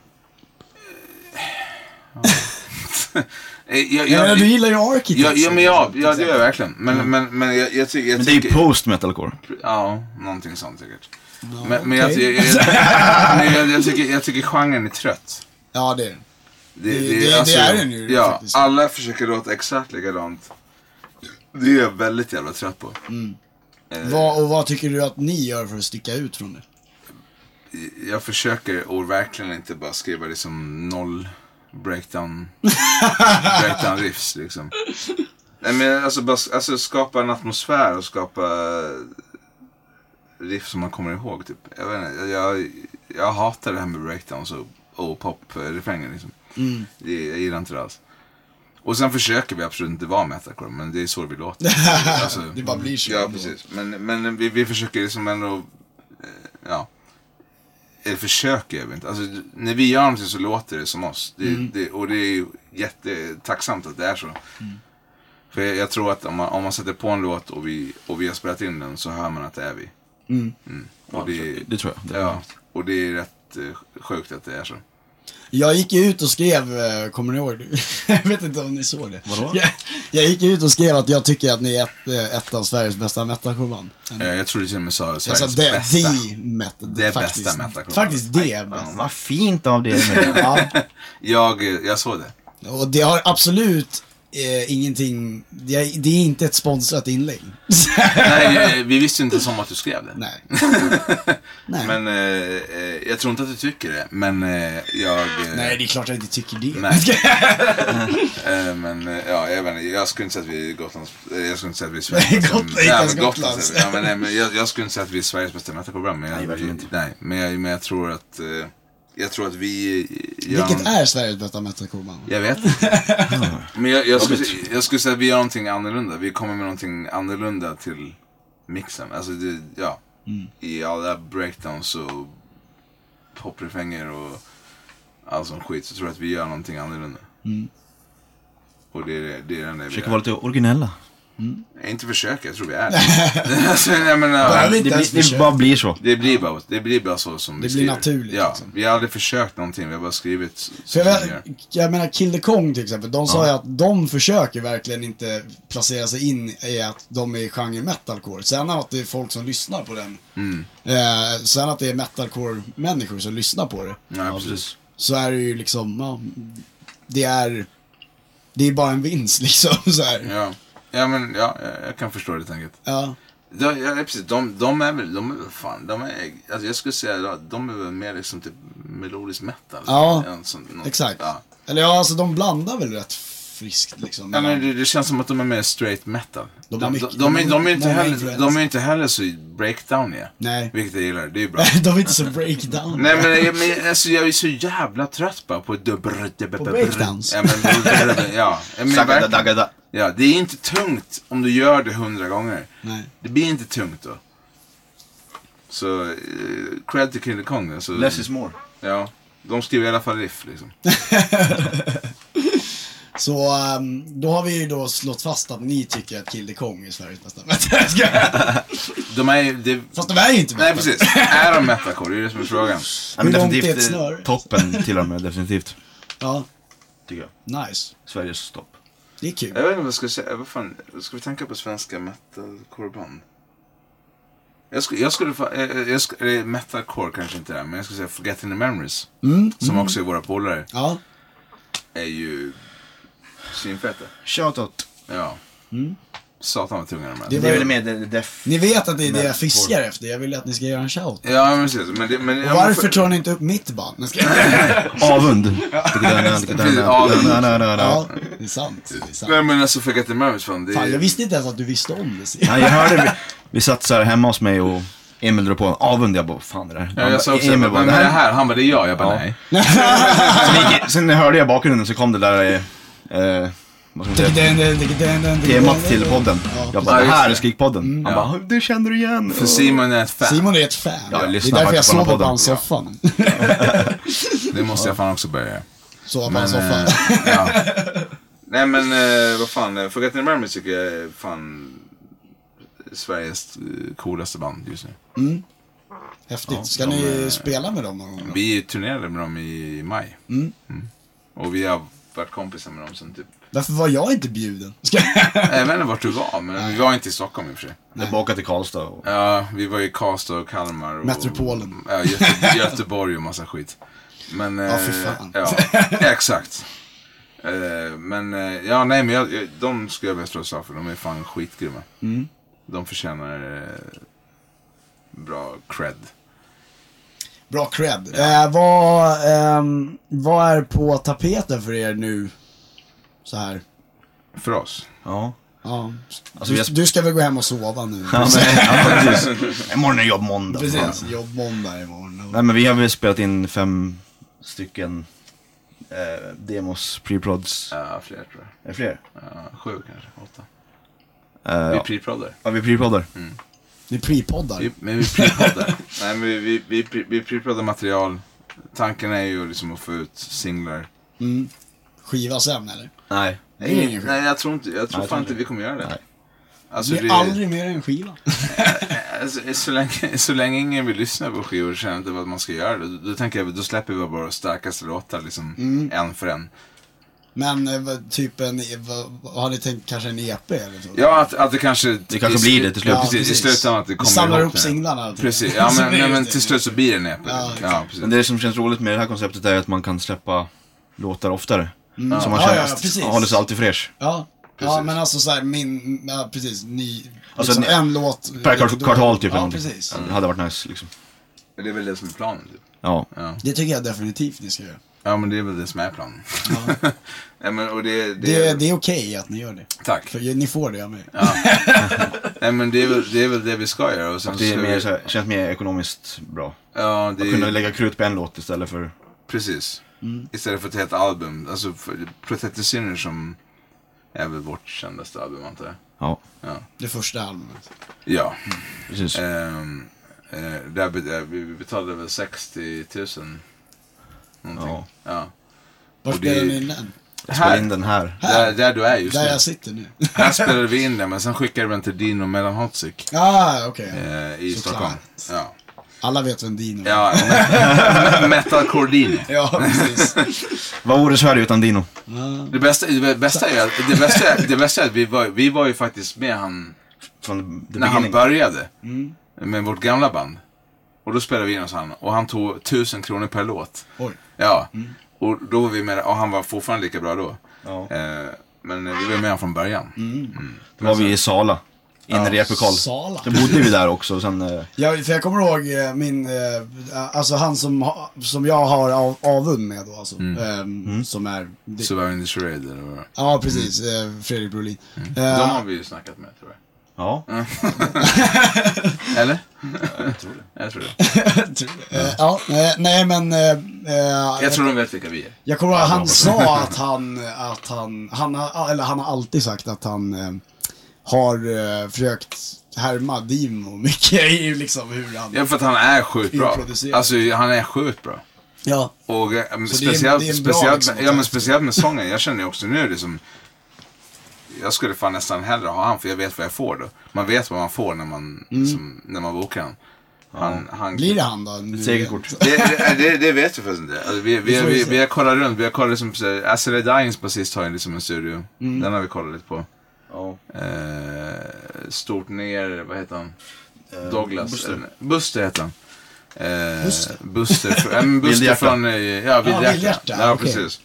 eh, jag,
Jag menar,
jag,
du gillar ju Architects.
jag, ja, men ja,
liksom,
ja, det gör jag verkligen. Men, men, men jag, jag, tycker- jag
Mm. Men det är ju
tycker-
post metalcore.
Ja, någonting sånt säkert. men, men jag, jag, jag,
(laughs)
men jag, jag, tycker, jag tycker genren är trött.
Ja, det är det.
Det, alltså,
Det- det- det är den ju
Ja,
faktiskt.
alla försöker låta exakt likadant. Det är jag väldigt jävla trött på.
Mm.
Eh,
Vad, och vad tycker du att ni gör för att sticka ut från det?
Jag försöker och verkligen inte bara skriva liksom noll breakdown, breakdown riffs liksom. Nej men alltså, bara, alltså skapa en atmosfär och skapa riff som man kommer ihåg typ. Jag vet inte, jag, jag hatar det här med breakdowns och, och poprefränger liksom. Det, jag gillar inte det alls. Och sen försöker vi absolut inte vara metalcore men det är så vi låter. Alltså,
Det bara blir så.
Ja precis. Men, men vi, vi försöker liksom ändå, eh, ja. Eller försöker gör vi inte. Alltså, när vi gör någonting så låter det som oss. Det,
Mm.
det, och det är ju jättetacksamt att det är så.
Mm.
För jag, jag tror att om man, om man sätter på en låt och vi, och vi har spelat in den så hör man att det är vi. Mm. Och det,
Det tror jag. Det är
ja, och det är rätt eh, sjukt att det är så.
Mm. Jag gick ju ut och skrev, eh, kommer ni ihåg (laughs) det? jag vet inte om ni såg det.
Vadå?
Jag, jag gick ju ut och skrev att jag tycker att ni är ett, eh, ett av Sveriges bästa metalcoreband.
Eh, Jag tror du till och med sa
Jag
Sveriges
sa det,
bästa.
the metal.
Det
faktiskt.
bästa metalcoreband.
Faktiskt det bästa.
Vad fint av dig. (laughs)
Ja.
Jag, eh, jag såg det.
Och det har absolut eh, ingenting, det är, det är inte ett sponsrat inlägg. (laughs)
Nej, eh, vi visste ju inte ens om att du skrev det. (laughs)
Nej. Nej.
Men eh, eh, jag tror inte att du tycker det. Men eh, jag... eh,
Nej, det är klart jag inte tycker det. (laughs)
Nej. (laughs) Eh, men eh, ja, jag vet inte. Jag skulle inte säga att vi är Gotlands... eh, Jag skulle inte säga att vi är Sveriges
Nej,
bästa...
Gotland- inte ens
men Gotland
Gotlands.
säger vi. ja, men, nej, men jag, jag skulle inte säga att vi är Sveriges bästa metalcoreband. men jag-
Nej, verkligen inte.
Nej, men jag, men jag tror att... eh, Jag tror att vi... eh, Gör
Vilket
någon-
är Sveriges bästa metalcoreband?
Jag vet. men jag, jag, skulle, jag skulle säga att vi gör någonting annorlunda. Vi kommer med någonting annorlunda till mixen. Alltså, det, ja. I alla breakdowns och poprefränger och all sån skit så tror jag att vi gör någonting annorlunda. Och det är det, det är den där vi
Försöker
gör.
vara lite originella.
Nej, Inte försöka, jag tror vi är det. alltså, jag menar,
Behöver
Det,
inte ens
blir, det
försöka.
bara blir så.
det blir bara, det blir bara så som vi
blir
skriver.
naturligt,
Ja,
liksom.
vi har aldrig försökt någonting. Vi har bara skrivit så
För
som
jag,
vi gör.
vet- jag menar Kill the Kong till exempel, de sa ju att de försöker verkligen inte placera sig in i att de är i genren metalcore. Sen att det är folk som lyssnar på den,
Mm.
eh, sen att det är metalcore-människor som lyssnar på det,
Ja, precis.
så är det ju liksom, ja, det är, det är bara en vinst (laughs) liksom så här.
Ja, ja men ja, jag- jag kan förstå det tänket.
Ja.
Ja, ja, precis. De, de är väl, de är väl fan, de är, alltså jag skulle säga att de är väl mer liksom typ melodisk metal.
Ja,
än som- något-
Exakt.
Ja.
Eller ja, alltså de blandar väl rätt friskt liksom.
Ja, men det, det känns som att de är mer straight metal.
De
De,
har
de,
mycket-
de, de, är- de, är, inte
många
heller,
influenser.
de är inte heller så breakdowniga.
Nej.
Vilket jag gillar, det är bra.
(laughs) de är inte så breakdown.
Nej men, jag- men alltså, jag är så jävla trött bara på...
På breakdowns.
Ja, men, ja, men, verkligen.
Sagadadagada.
ja, det är inte tungt om du gör det hundra gånger.
Nej.
Det blir inte tungt då. Så eh, cred till King Kong. Alltså,
Less is more.
ja, de skriver i alla fall riff liksom.
Så ehm, då har vi ju då slått fast att ni tycker att Kill the Kong är Sveriges bästa (laughs) metal. Jag skojar.
De är, det,
Fast de är ju inte
nej
metal.
precis, (laughs) är de metalcore? Det är det som är frågan.
Ja, men
Hur långt är ett
definitivt, eh,
snöre?
Toppen till (laughs) och med, definitivt.
Ja,
Tycker jag.
nice.
Sveriges topp.
Det är kul.
Jag vet inte vad jag ska säga, vad fan, ska vi tänka på svenska metalcoreband? Jag skulle, jag skulle, fa- eh, eh, jag skulle eh, metalcore kanske inte är, men jag skulle säga Forgetting the Memories. som också är våra polare.
Ja,
Är ju svinfeta.
Shoutout.
Ja. Satan vad tunga de är.
Det
Det är
var-
väl med det- def...
Ni vet att det är det
Men-
jag fiskar efter. Jag vill att ni ska göra en shout.
Ja, men precis. Men det, men, ja, men
Varför
för-
tar ni inte upp mitt band? Men ska-
(laughs)
(laughs) Avund.
Avund.
Ja, det är sant. Det är sant.
Nej men alltså Forget the Marriage fan. Det,
Fan, jag visste inte ens att du visste om det.
Nej, jag hörde, vi, vi satt så här hemma hos mig och Emil drog på en avund. Jag bara, fan det där.
ja, jag sa också,
Emil
men
bara,
men
det
det
här.
här, han bara det är jag. Jag bara
Ja.
nej.
Sen, gick, sen hörde jag i bakgrunden så kom det där, eh, eh, vad ska man säga, temat till podden. Jag bara, det här är
Mm.
Skrikpodden. Han
Ja.
bara, det känner du igen.
För Simon är ett fan.
Simon är ett fan.
Ja, jag
det är
lyssnar
därför jag
faktiskt på den
sover på
podden.
hans soffa. (laughs)
Det måste jag fan också börja göra.
Sover på
Men,
hans soffa.
eh, ja. Nej men eh, vad fan, eh, Forget the Marriage tycker jag är fan Sveriges eh, coolaste band just nu.
Häftigt. Ska
de
ni
är-
spela med dem någon gång? då?
Vi turnerade med dem i maj. Mm. Och vi har varit kompisar med dem sen typ. (laughs)
Varför var jag inte bjuden? Ska-
Jag vet inte vart du var, men vi var inte i Stockholm i och för sig.
Jag bara åka till Karlstad. Och,
Ja, vi var i Karlstad och Kalmar. Och,
Metropolen. (laughs)
Ja, Göte, Göteborg och massa skit. Men, ja,
fy fan.
Ja, exakt. Eh, men, eh, ja nej men jag, jag, de skulle jag vilja slå ett slag för. De är fan skitgrymma.
Mm.
De förtjänar eh, bra cred.
Bra cred. Eh, vad, ehm, vad är på tapeten för er nu? Så här.
För oss.
ja.
Ja.
Alltså,
Du,
vi har-
du ska väl gå hem och sova nu?
Ja,
(laughs)
men, ja, precis. Imorgon är jobbmåndag.
Precis. Jobb måndag imorgon.
Nej men vi har väl spelat in fem stycken eh, demos, pre-prods.
Ja, fler tror jag.
Är det fler?
Ja, sju kanske, åtta.
Eh,
Vi
ja.
pre-proddar.
ja, vi pre-proddar.
Mm. Ni pre-poddar.
Vi- Men vi pre-proddar. (laughs) Nej, men vi, vi, vi, pre- vi pre-proddar material. Tanken är ju liksom att få ut singlar.
Skiva sen eller?
Alltså,
Nej.
Det är ingen skiva.
Nej, jag tror inte, jag tror
jag tror
fan inte
inte.
vi kommer göra det.
Nej.
Alltså,
Det är aldrig mer än skiva.
alltså, så, länge, (laughs) så länge ingen vill lyssna på skivor och känner inte vad man ska göra. Då, då tänker jag, då släpper vi bara våra starkaste låtar liksom, en för en.
Men eh, vad- typ en, vad, vad har ni tänkt kanske en EP eller så?
Ja, att, att det kanske... Det
kanske blir det till slut.
Ja, precis. I slutändan att det kommer
Vi samlar
ihop
ihop
det.
singlarna. och typ.
Precis,
allting. (laughs)
ja
Så
men,
blir
nej,
det
men
det.
till slut så blir det en EP.
Ja,
Ja,
exakt.
precis.
Men det som känns roligt med det här konceptet är att man kan släppa låtar oftare. Så man
Mm. Ja,
känner,
ja, ja, precis.
håller sig alltid fräsch.
Ja. Ja
Precis.
men alltså såhär min, ja precis, ny,
Alltså,
liksom
en-
en låt.
Per kvart,
då-
kvartal typ. eller
Ja
någonting.
precis.
Ja, Det hade varit nice liksom.
Det är väl det som är planen. Typ.
Ja.
Ja.
Det tycker jag definitivt ni ska göra.
ja, men det är väl det som är planen. (laughs) nej, men, och det, det,
Det, det är okej att ni gör det.
Tack.
För ni får det av mig.
Nej, men det är, väl, det är väl det vi ska göra. Och sen
Det är
ska
mer,
vi,
så här, känns mer ekonomiskt bra.
Ja, det
Kunna
är,
lägga krut på en låt istället för...
precis.
Mm.
Istället för ett helt album. Alltså, för- Protected Sinner som är väl vårt kändaste album antar jag.
Ja,
Det första albumet.
Ja.
precis.
Ehm, eh, där, be- eh, vi vi betalade väl 60 000. Någonting.
Ja.
Ja.
Var
Och det-
spelade ni den?
Jag spelar
Här.
in den här.
Där, där du är just
Där
nu.
jag sitter nu.
Här spelade vi in den men sen skickade vi den till Dino mellan Hotzik.
Ah, okej.
Eh, I Stockholm. Ja.
Alla vet vem Dino är.
ja me- (laughs) Metalcore Dino.
ja precis.
Vad vore Sverige utan Dino?
Det bästa, det bästa, är, att- det bästa, är, det bästa är att vi var, vi var ju faktiskt med han
Från the
när han
beginning.
började Mm. med vårt gamla band. Och då spelade vi in hos han och han tog 1000 kronor per låt.
(laughs) Oj.
Ja. Och då var vi med och han var fortfarande lika bra då.
Ja.
Eh, men vi var med honom från början.
Då var vi i Sala. In i replokal.
Sala.
Då bodde vi där också. och Sen, eh,
Ja, för jag kommer ihåg eh, min, eh, alltså han som, ha, som jag har av, avund med då alltså. ehm, Som är, det,
Surviving the Charade. eller vad det var.
ja precis, eh, Fredrik Brolin. Eh,
De har vi ju snackat med tror jag.
ja.
Eller? jag tror det. (laughs) Jag tror, det.
eh, ja, eh, nej men, eh, eh,
Jag tror de vet vilka vi är.
jag kommer ihåg att han sa att han, att han, han har, eller han har alltid sagt att han eh, har eh, försökt härma Dimo mycket i liksom hur han,
Ja, för att han är sjukt bra.
Introducerar.
Alltså han är sjukt bra.
ja.
Och eh, men
Så det är en-
speciellt,
det är en bra
speciellt,
liksom
ja, men
kontakt.
speciellt med sången. Jag känner ju också nu liksom. Jag skulle fan nästan hellre ha han för jag vet vad jag får då. Man vet vad man får när man, som, när man bokar han. han, han
Mm. Blir det han då? nu
Segerkort.
igen?
det, det, det, det vet vi faktiskt inte. Alltså, vi, vi,
Det får vi
vi,
se.
vi har kollat runt. Vi har kollat liksom, så här, Acid Dyings basist har ju liksom en studio.
Mm.
Den har vi kollat lite på.
Ja.
Eh, stort ner, vad heter han?
Eh,
Douglas.
Buster.
Buster, Buster heter han. Eh,
Buster?
Buster? Buster, äh, men Buster
Vildhjärta.
från eh, ja, Vildhjärta.
Vildhjärta,
Ja,
okej.
precis.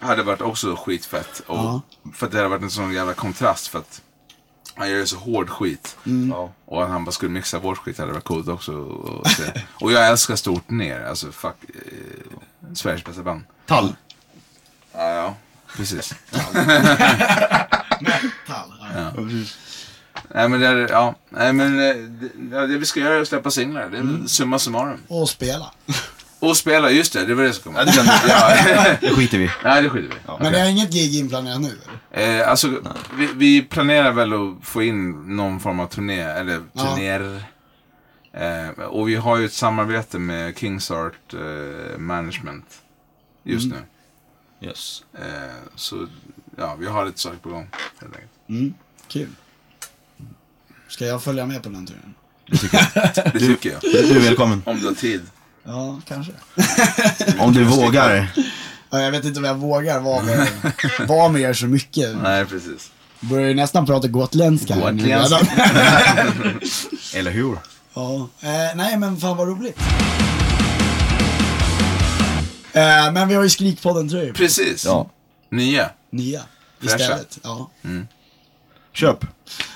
Hade varit också skitfett. Och,
Ja.
För att det hade varit en sån jävla kontrast. För att Han gör ju så hård skit.
Ja.
Och att han bara skulle mixa vår skit hade varit coolt också. Och, se. och jag älskar Stort Ner. Alltså fuck. Eh, Sveriges bästa band.
Tall.
Ja, ja. Precis.
Tall. Ja.
Nej men det är, ja. Nej men eh, det, ja, det vi ska göra är att släppa singlar. Det är summa summarum.
Och spela.
Och spela, just det. Det var det som kom.
Ja, det glömde
(laughs)
vi.
Ja.
Det skiter vi i.
Nej det skiter vi i.
Men det är inget gig inplanerat nu? eller?
Eh, alltså, vi, vi planerar väl att få in någon form av turné, eller
Ja.
turnéer. Eh, och vi har ju ett samarbete med Kings Art eh, Management just nu.
Yes.
Eh, så ja, vi har lite saker på gång helt (laughs) enkelt.
Mm. Kul. Ska jag följa med på den turen?
Det tycker jag.
Du är välkommen.
Om du har tid.
Ja, kanske.
Om du vågar.
Ja, jag vet inte om jag vågar vara med, vara med er så mycket.
Nej, precis.
Börjar ju nästan prata gotländska. här nu.
Gotländska.
Eller hur?
Ja, eh, nej men fan vad roligt. Eh, men vi har ju Skrikpodden tröjor på.
Precis.
Ja.
Nya.
Nya.
Fräscha.
Istället. Ja. (laughs)
Köp.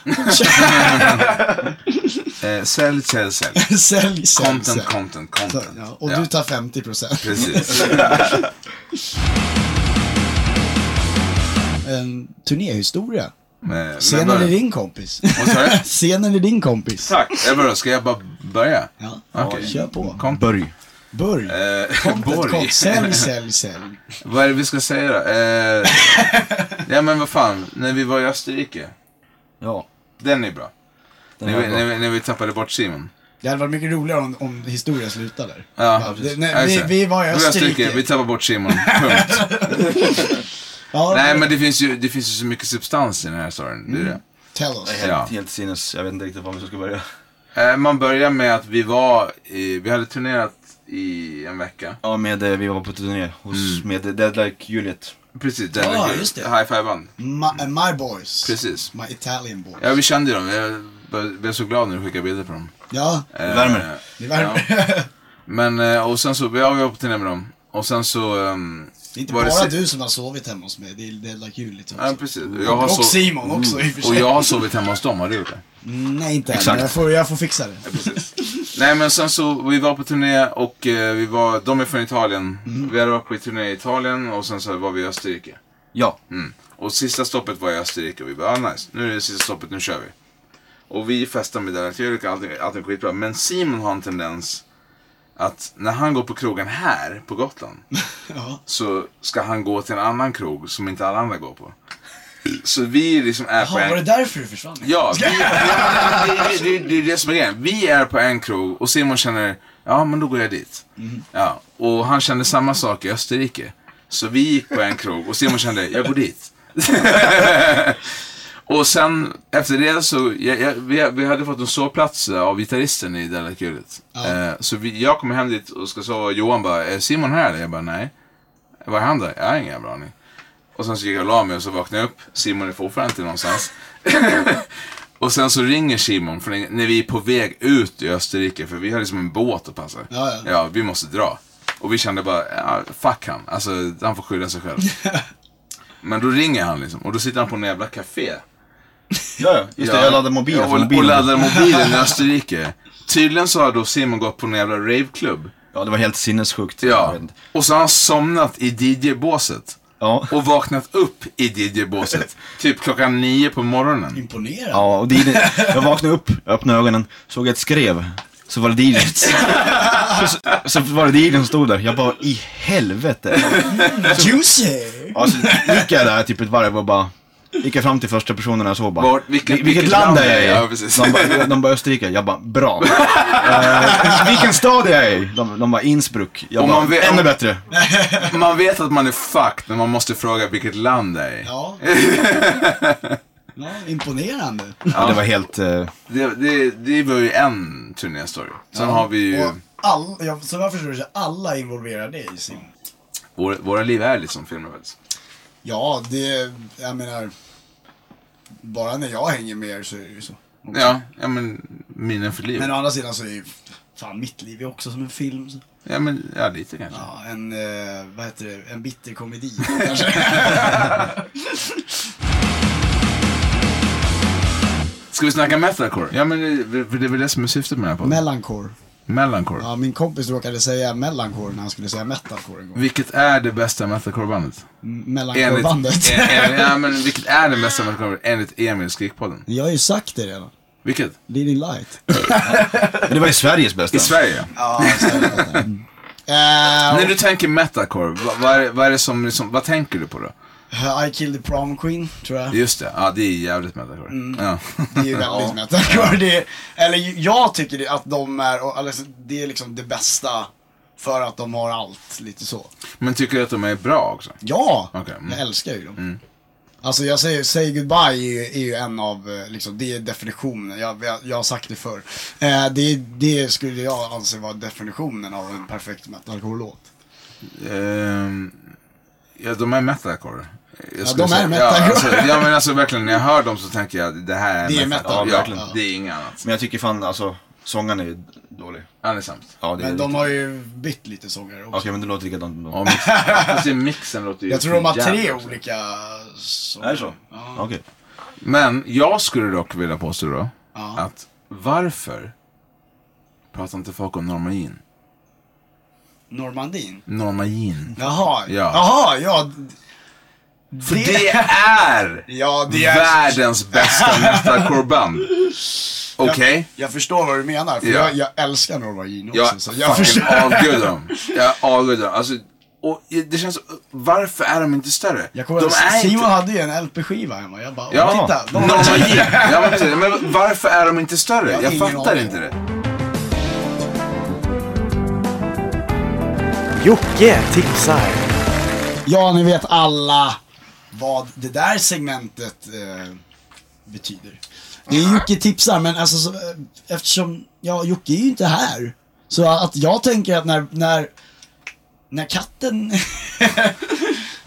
Eh, sälj, sälj, sälj.
sälj, sälj,
Content,
sälj.
content,
Alltså. Så,
content.
ja. Och du tar 50 procent. (laughs)
Precis.
En turnéhistoria.
Men- men
Scenen
börja.
är din kompis.
Vad sa du?
(laughs) Scenen är din kompis.
Tack. Eh, vadå, ska jag bara börja?
Ja,
Okej.
kör på.
Kom.
Börj.
Börj.
Eh,
Ett
Borg.
kort.
(laughs)
Sälj, sälj, sälj.
Vad är det vi ska säga då? Eh, ja men vad fan, när vi var i Österrike.
Ja.
Den är bra. när, vi, när, vi, när vi tappade bort Simon.
Det hade varit mycket roligare om, om historien slutade där.
Ja,
det, nej,
Ja, just
vi,
det.
vi var i Österrike.
Vi tappade
(laughs)
bort Simon, punkt.
Ja,
Nej men det finns, ju, det finns ju så mycket substans i den här storyn. Det
Mm.
är det.
Tell us.
Helt,
Ja.
helt sinnes. Jag vet inte riktigt var vi ska börja.
Eh, man börjar med att vi var i, vi hade turnerat i en vecka.
Ja, med, eh, vi var på turné hos,
Mm.
med Dead Like Juliet.
Precis, den
Ja,
veckan.
just det.
High Five Band.
My, my boys.
Precis.
My Italian boys.
Ja vi kände ju dem. Jag bara- blev så glad när du skickade bilder på dem.
Ja,
Eh,
värmer.
det värmer. (laughs)
Men eh, och sen så, ja vi var på turné med dem. Och sen så... ehm,
Det är inte
var det
bara
si-
du som har sovit hemma hos mig. Det är Della Kulit också.
Ja, precis. Och Jag har
och
sov-
Simon också i och för sig.
Och jag har sovit hemma hos dem, har du gjort det?
Mm, Nej, inte än.
Exakt.
men Jag får, jag får fixa det.
Nej men sen så, vi var på turné och eh, vi var, de är från Italien.
Mm.
Vi hade varit på turné i Italien och sen så var vi i Österrike.
Ja.
Mm. Och sista stoppet var i Österrike och vi bara, ah, nice, nu är det sista stoppet, nu kör vi. Och vi festar med den och allting, allting skitbra. Men Simon har en tendens att när han går på krogen här på Gotland
Ja.
så ska han gå till en annan krog som inte alla andra går på. Så vi liksom är på
Jaha,
en...
var det därför du försvann?
Ja, vi, det, det, det, det är det som är grejen. Vi är på en krog och Simon känner, ja men då går jag dit.
Mhm.
Ja, och han kände samma sak i Österrike. Så vi gick på en krog och Simon kände, jag går dit. och sen efter det så, jag, jag, vi, vi hade fått en sovplats eh, av gitarristen i Della Kulit. Eh, så vi, jag kommer hem dit och ska sova och Johan bara, är Simon här eller? Jag bara, nej. Var är han då? Jag har ingen jävla aning. Och sen så gick jag och la mig och så vaknade jag upp. Simon är fortfarande inte någonstans. (laughs) Och sen så ringer Simon för när vi är på väg ut i Österrike för vi har liksom en båt att passa.
Ja, ja.
vi måste dra. Och vi kände bara, ja, fuck han. Alltså han får skylla
(laughs)
sig själv. Men då ringer han liksom och då sitter han på en jävla café.
Ja, ja. Just det, jag laddade mobilen.
Ja,
från
och, och laddar
(laughs)
mobilen i Österrike. Tydligen så har då Simon gått på en jävla raveklubb.
Ja, det var helt sinnessjukt. Jag
Ja.
vet inte.
Och så har han somnat i DJ-båset.
Ja.
Och vaknat upp i DJ-båset. typ klockan nio på morgonen.
Imponerad.
Ja, och DJ, jag vaknade upp, jag öppnade ögonen, såg ett skrev. Så var det DJn. Så, så var det DJn som stod där. Jag bara, i helvete.
Juicy!
Alltså, gick jag där typ ett varv och bara, gick jag fram till första personen jag såg bara.
Vart- vilket-
"Vil- vilket land är jag i?
Ja, precis.
de, bara, de bara Österrike. Jag bara, bra. Eh, vilken stad är jag i? De, de bara Innsbruck. Jag
Om
bara,
man vet-
ännu
om-
bättre.
Man vet att man är fucked när man måste fråga vilket land det är i.
(laughs) Ja. ja. Imponerande.
Ja, det var helt, eh,
Det, det, det var ju en turnéstory. Sen har vi ju,
Och all, ja, som jag förstår det så är alla involverade i sin...
vår, våra liv är liksom filmer faktiskt.
Ja, det... Jag menar... Bara när jag hänger med er så är det ju så.
Ja, ja men minnen för livet.
Men å andra sidan så är ju... Fan, mitt liv är också som en film. Så.
Ja men, ja lite kanske.
Ja, en, eh, vad heter det, en bitter komedi (laughs) kanske.
Ska vi snacka metalcore? Ja, men det, det är väl det som är syftet med den här podden?
Mellancore.
Mellancore.
Ja, min kompis råkade säga mellancore när han skulle säga metalcore en gång.
Vilket är det bästa metalcore-bandet?
Mellancore-bandet.
en- en- (laughs) ja, men vilket är det bästa metalcore-bandet enligt Emil Skrikpodden?
(laughs) Jag har ju sagt det redan.
Vilket?
Leading
(laughs)
light.
Men det var ju Sveriges bästa.
I Sverige?
Eh,
När du tänker metalcore, vad, vad, är, det- vad är det som, liksom, vad tänker du på då?
eh, I killed the prom queen, tror jag.
Just det, ja det är jävligt metalcore. (laughs) Ja.
Mm. Det är ju väldigt metalcore. Det är, eller ju- jag tycker det- att de är, och- alltså, det är liksom det bästa för att de har allt, lite så.
Men tycker du att de är bra också?
Ja,
Okej, mm.
jag älskar ju dem. Alltså jag säger, Say Goodbye är ju, är ju en av, eh, liksom, det är definitionen, jag, jag, jag har sagt det förr. Eh, det, det skulle jag anse vara definitionen av en perfekt metalcore-låt.
Ehm, ja, de är metalcore. Jag skulle
de är
Ja,
metalcore.
alltså, ja, men alltså verkligen, när jag hör dem så tänker jag det här är
Det är metal,
Ja,
verkligen.
Det är inget annat.
Men jag tycker fan alltså, sångaren är ju dålig.
Ja, det är sant.
Ja, det är
Men
lite-
de har ju bytt lite sångare också.
Okej, men det låter likadant ändå.
(laughs)
Ja, mixen, fast det- mixen låter ju
Jag tror de har
för jävla
tre
också.
olika sångare.
Är det så? Okej.
Men jag skulle dock vilja påstå då
Ja.
att varför pratar inte folk om Normandin?
Normandin?
Normandin.
Jaha,
Ja.
ja. jaha, ja.
För det är
Ja, det är...
världens
(laughs)
bästa metalcoreband. Okej?
Jag förstår vad du menar, för
Ja.
jag, jag älskar Norma Jean också.
Jag
så jag
fucking
förstår.
avgudar dem. Jag avgudar dem. Alltså, och det känns, varför är de inte större?
Jag kommer
de
ihåg,
är
Simon
inte...
hade ju en LP-skiva hemma. Jag bara, åh,
Ja,
titta.
någon
De har...
har gett. ja men, precis. men varför är de inte större?
Jag har
Jag,
ingen
fattar
aning.
inte det.
Jocke tipsar.
Ja, ni vet alla vad det där segmentet eh, betyder. Det är Jocke tipsar, men alltså så, eh, eftersom, ja, Jocke är ju inte här. Så att jag tänker att när, när, när katten (laughs)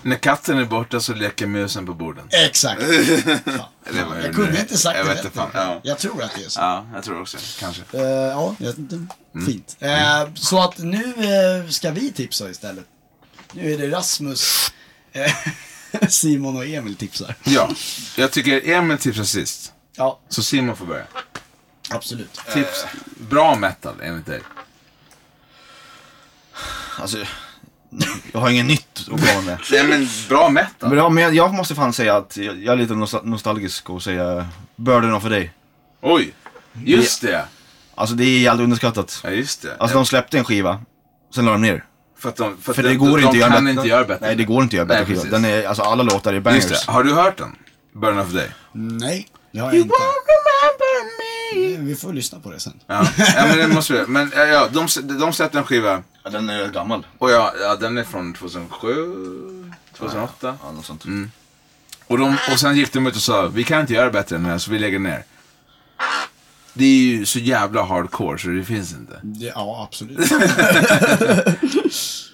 När katten är borta så leker musen på borden. (laughs)
Exakt.
Det var ju-
Jag kunde inte sagt
jag
det
vet inte
bättre.
fan. Ja.
Jag tror att det är så.
ja, jag tror också Kanske.
Eh, ja, jag vet inte. fint. Eh, så att nu eh, ska vi tipsa istället. Nu är det Rasmus, eh, (laughs) Simon och Emil tipsar.
Ja, jag tycker Emil tipsar sist.
Ja,
Så Simon får börja.
absolut.
Tips. Bra metal enligt dig.
Alltså, (laughs) jag har inget nytt att komma med.
Nej men bra
Men,
metal.
ja, men jag, jag måste fan säga att jag, jag är lite nostal- nostalgisk och säga Burden of a Day.
Oj, just det.
Alltså det är jävligt underskattat.
Ja, just det.
Alltså de släppte en skiva, sen la de ner.
för att de, för att
För
de,
det går
de,
inte att göra
kan
bättre.
inte göra bättre.
Nej, det går inte att göra bättre
Nej,
skiva.
precis.
Den är, alltså alla låtar är
Just
bangers.
det. Har du hört den? Burn of Day?
Nej, det har jag inte.
remember me.
Vi får lyssna på det sen.
Ja, ja men det måste vi. Men ja, ja, de, de släppte en skiva
Ja, den är gammal.
och ja, ja, den är från 2007, 2008.
Ja, något sånt.
Mm. Och, de, och sen gick de ut och sa vi kan inte göra bättre än det här så vi lägger ner. Det är ju så jävla hardcore så det finns inte.
Det, ja,
(laughs)
absolut.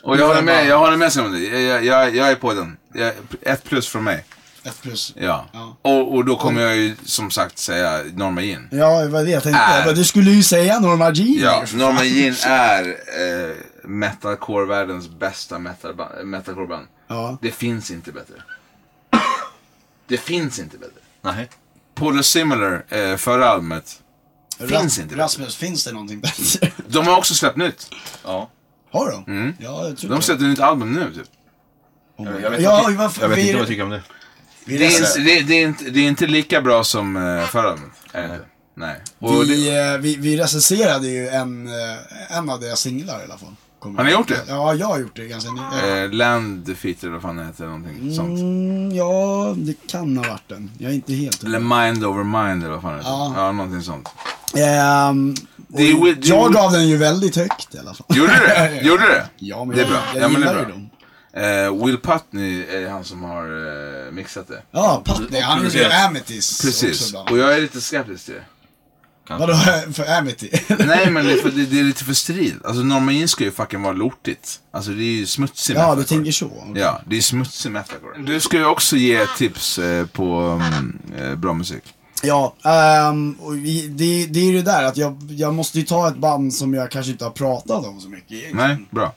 Och jag håller med, jag håller med sig om det. Jag, jag, jag, jag är på den. Jag, ett plus från mig.
Ett plus.
Ja.
Ja.
Och, och då kommer jag ju som sagt säga Norma Jean.
Ja, det var det jag tänkte.
Äh.
Jag bara, Du skulle ju säga Norma Jean.
Ja,
för fan.
Norma Jean är eh, metalcore-världens bästa metalba- eh, metalcore-band.
Ja.
Det finns inte bättre. Det finns inte bättre.
Nej.
Paul Similar, eh, förra albumet. Finns inte bättre.
Rasmus, finns det någonting bättre? (laughs)
De har också släppt nytt.
Ja.
Har de? Ja, jag tror
De
det.
släppte nytt album nu typ.
Jag vet,
Ja,
inte-
varför-
jag vet
vi-
inte vad jag tycker om det.
Vi
Det
reser-
är, det, det är, inte, det är inte lika bra som eh, förra albumet. Är det inte? Nej. Och
vi,
det,
eh, vi, vi recenserade ju en, eh, en av deras singlar i alla fall. Kommer
Har ni
jag-
gjort det?
Ja, jag har gjort det ganska nyligen.
eh, Land Defeated, vad fan det heter, någonting sånt.
Mm, ja, det kan ha varit den. Jag är inte helt
Eller Mind Over Mind eller vad fan det heter.
Ja.
Ja, någonting sånt.
Ehm,
Det är
och
wi- det är
jag
wi-
gav den ju väldigt högt i alla fall.
Gjorde du det? Gjorde du det?
(laughs) Ja, men
det är
jag-
bra.
jag
ja, men det
gillar
är bra.
ju dem.
Eh, Will Putney är han som har eh, mixat det.
Ja, Patney, han gjorde ju
Mm. Precis.
Amethyst också
Precis,
ibland.
och jag är lite skeptisk till det.
Vadå (laughs) för Amity?
Nej men det är, för, det, det är lite för strid. Alltså Norman ska ju fucking vara lortigt. Alltså det är ju smutsig
(laughs) ja, du
metalcore.
tänker så.
Ja, det är smutsig metalcore. Du ska ju också ge tips eh, på mm, eh, bra musik.
Ja, ehm, och vi- det, det är ju det där att jag, jag måste ju ta ett band som jag kanske inte har pratat om så mycket egentligen.
Nej, bra.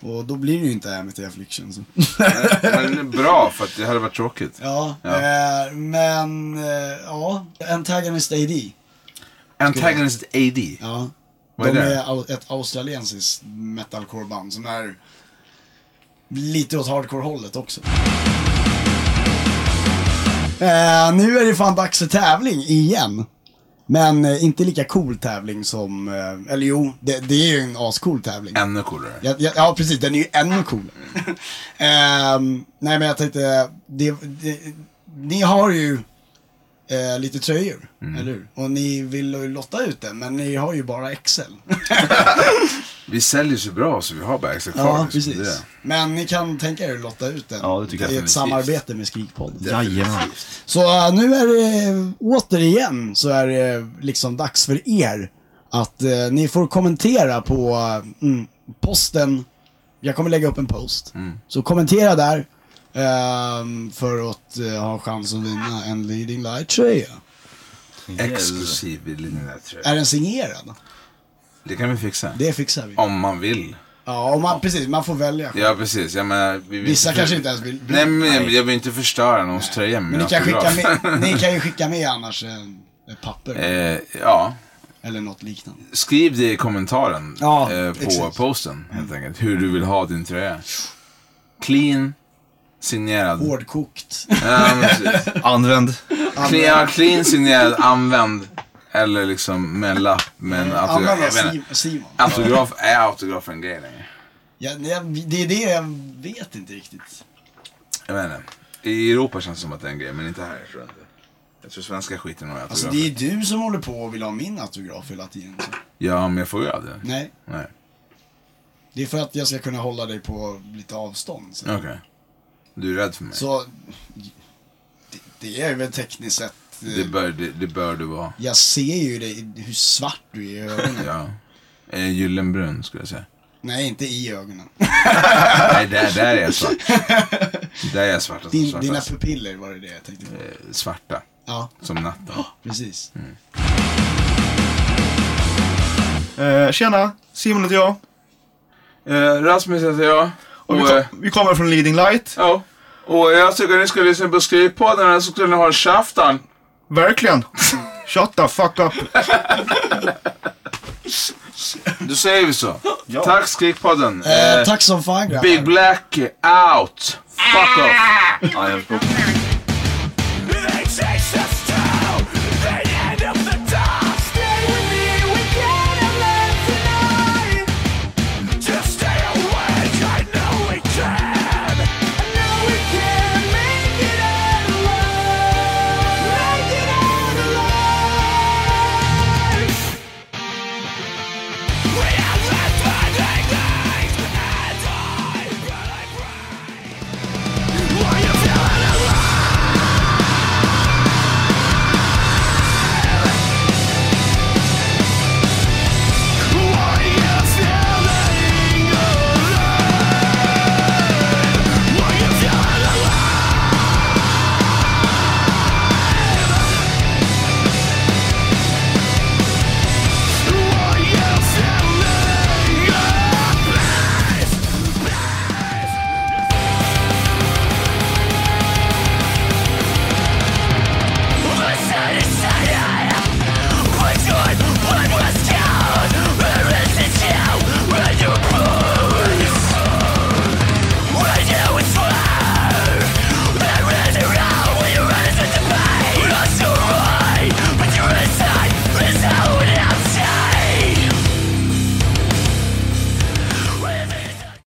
Och då blir det ju inte Amity Affliction.
(laughs)
Så.
Men bra, för att det hade varit tråkigt.
Ja,
Ja.
Eh, men eh, ja, Antagonist AD.
Antagonist AD.
Ja.
Vad är
de
det?
är au- ett australiensiskt metalcore-band som är lite åt hardcore-hållet också. Eh, nu är det fan dags för tävling igen. Men eh, inte lika cool tävling som, eh, eller jo, det, det är ju en ascool tävling.
Ännu coolare.
Ja, ja, ja precis, den är ju ännu coolare.
(laughs)
Ehm, nej men jag tänkte, det, det, ni har ju eh, lite tröjor,
Mm.
eller hur? Och ni vill ju lotta ut den, men ni har ju bara Excel.
Vi säljer så bra så vi har bags kvar.
ja,
liksom. Det är
precis. Men ni kan tänka er att lotta ut den
Ja, det tycker jag
i ett
definitivt.
samarbete med Skrikpodden.
Jajamän.
Så eh, nu är det återigen så är det liksom dags för er att eh, ni får kommentera på eh, mm, posten. Jag kommer lägga upp en post.
Mm.
Så kommentera där eh, för att eh, ha chans att vinna en Leading Light-tröja.
Exklusiv i linjen där, tror jag.
Är den signerad?
Det kan vi fixa.
Det fixar vi.
Om man vill.
Ja, och man, precis. Man får välja.
Ja, precis. Jag menar, vi vill
Vissa
inte-
kanske inte ens vill.
Nej, men jag- jag vill inte förstöra någons tröja med
men ni
min
kan, skicka
autograf. (laughs)
med, ni kan ju skicka med annars eh, ett papper
Eh, ja,
eller något liknande.
skriv det i kommentaren
Ja,
eh, på
exakt.
posten helt enkelt. Hur du vill ha din tröja. Clean, signerad. (laughs)
Hårdkokt.
Ja,
(laughs)
men precis.
Använd.
Clean, ja, clean, signerad, använd. Eller liksom med en lapp med en autograf.
Använda
Jag vet
Sim-
inte.
Simon.
Autograf, är autograf en grej längre?
Ja, nej, det är det jag vet inte riktigt.
Jag vet inte. I Europa känns det som att det är en grej, men inte här. Jag tror inte. Jag tror svenska skiter nog i autografer.
Alltså det är du som håller på och vill ha min autograf hela tiden. Så.
Ja, men jag får ju aldrig.
Nej,
Nej.
det är för att jag ska kunna hålla dig på lite avstånd. Så,
Okej. Du är rädd för mig.
så det, det är väl tekniskt sett. eh,
Det, bör, det, det bör du vara.
Jag ser ju dig, hur svart du är i
(laughs)
ögonen.
Ja. Eh, gyllenbrun skulle jag säga.
Nej, inte i ögonen.
Nej, där, där är jag svart. Där är jag svart. Alltså,
Din,
svart
dina
alltså.
pupiller var det det jag tänkte på.
Eh, svarta.
Ja,
Som natten.
precis.
Eh, tjena, Simon heter jag.
Eh, Rasmus heter jag. Och,
Och vi,
eh,
kom, vi kommer från Leading Light.
ja. och jag tycker ni ska lyssna på skrivpodden här så skulle ni ha käften.
Verkligen. Shut the fuck up.
Då säger vi så. Tack skrivpodden.
Eh,
Eh,
tack som fan grabbar.
Big Black out. Fuck off.
Ja, jag-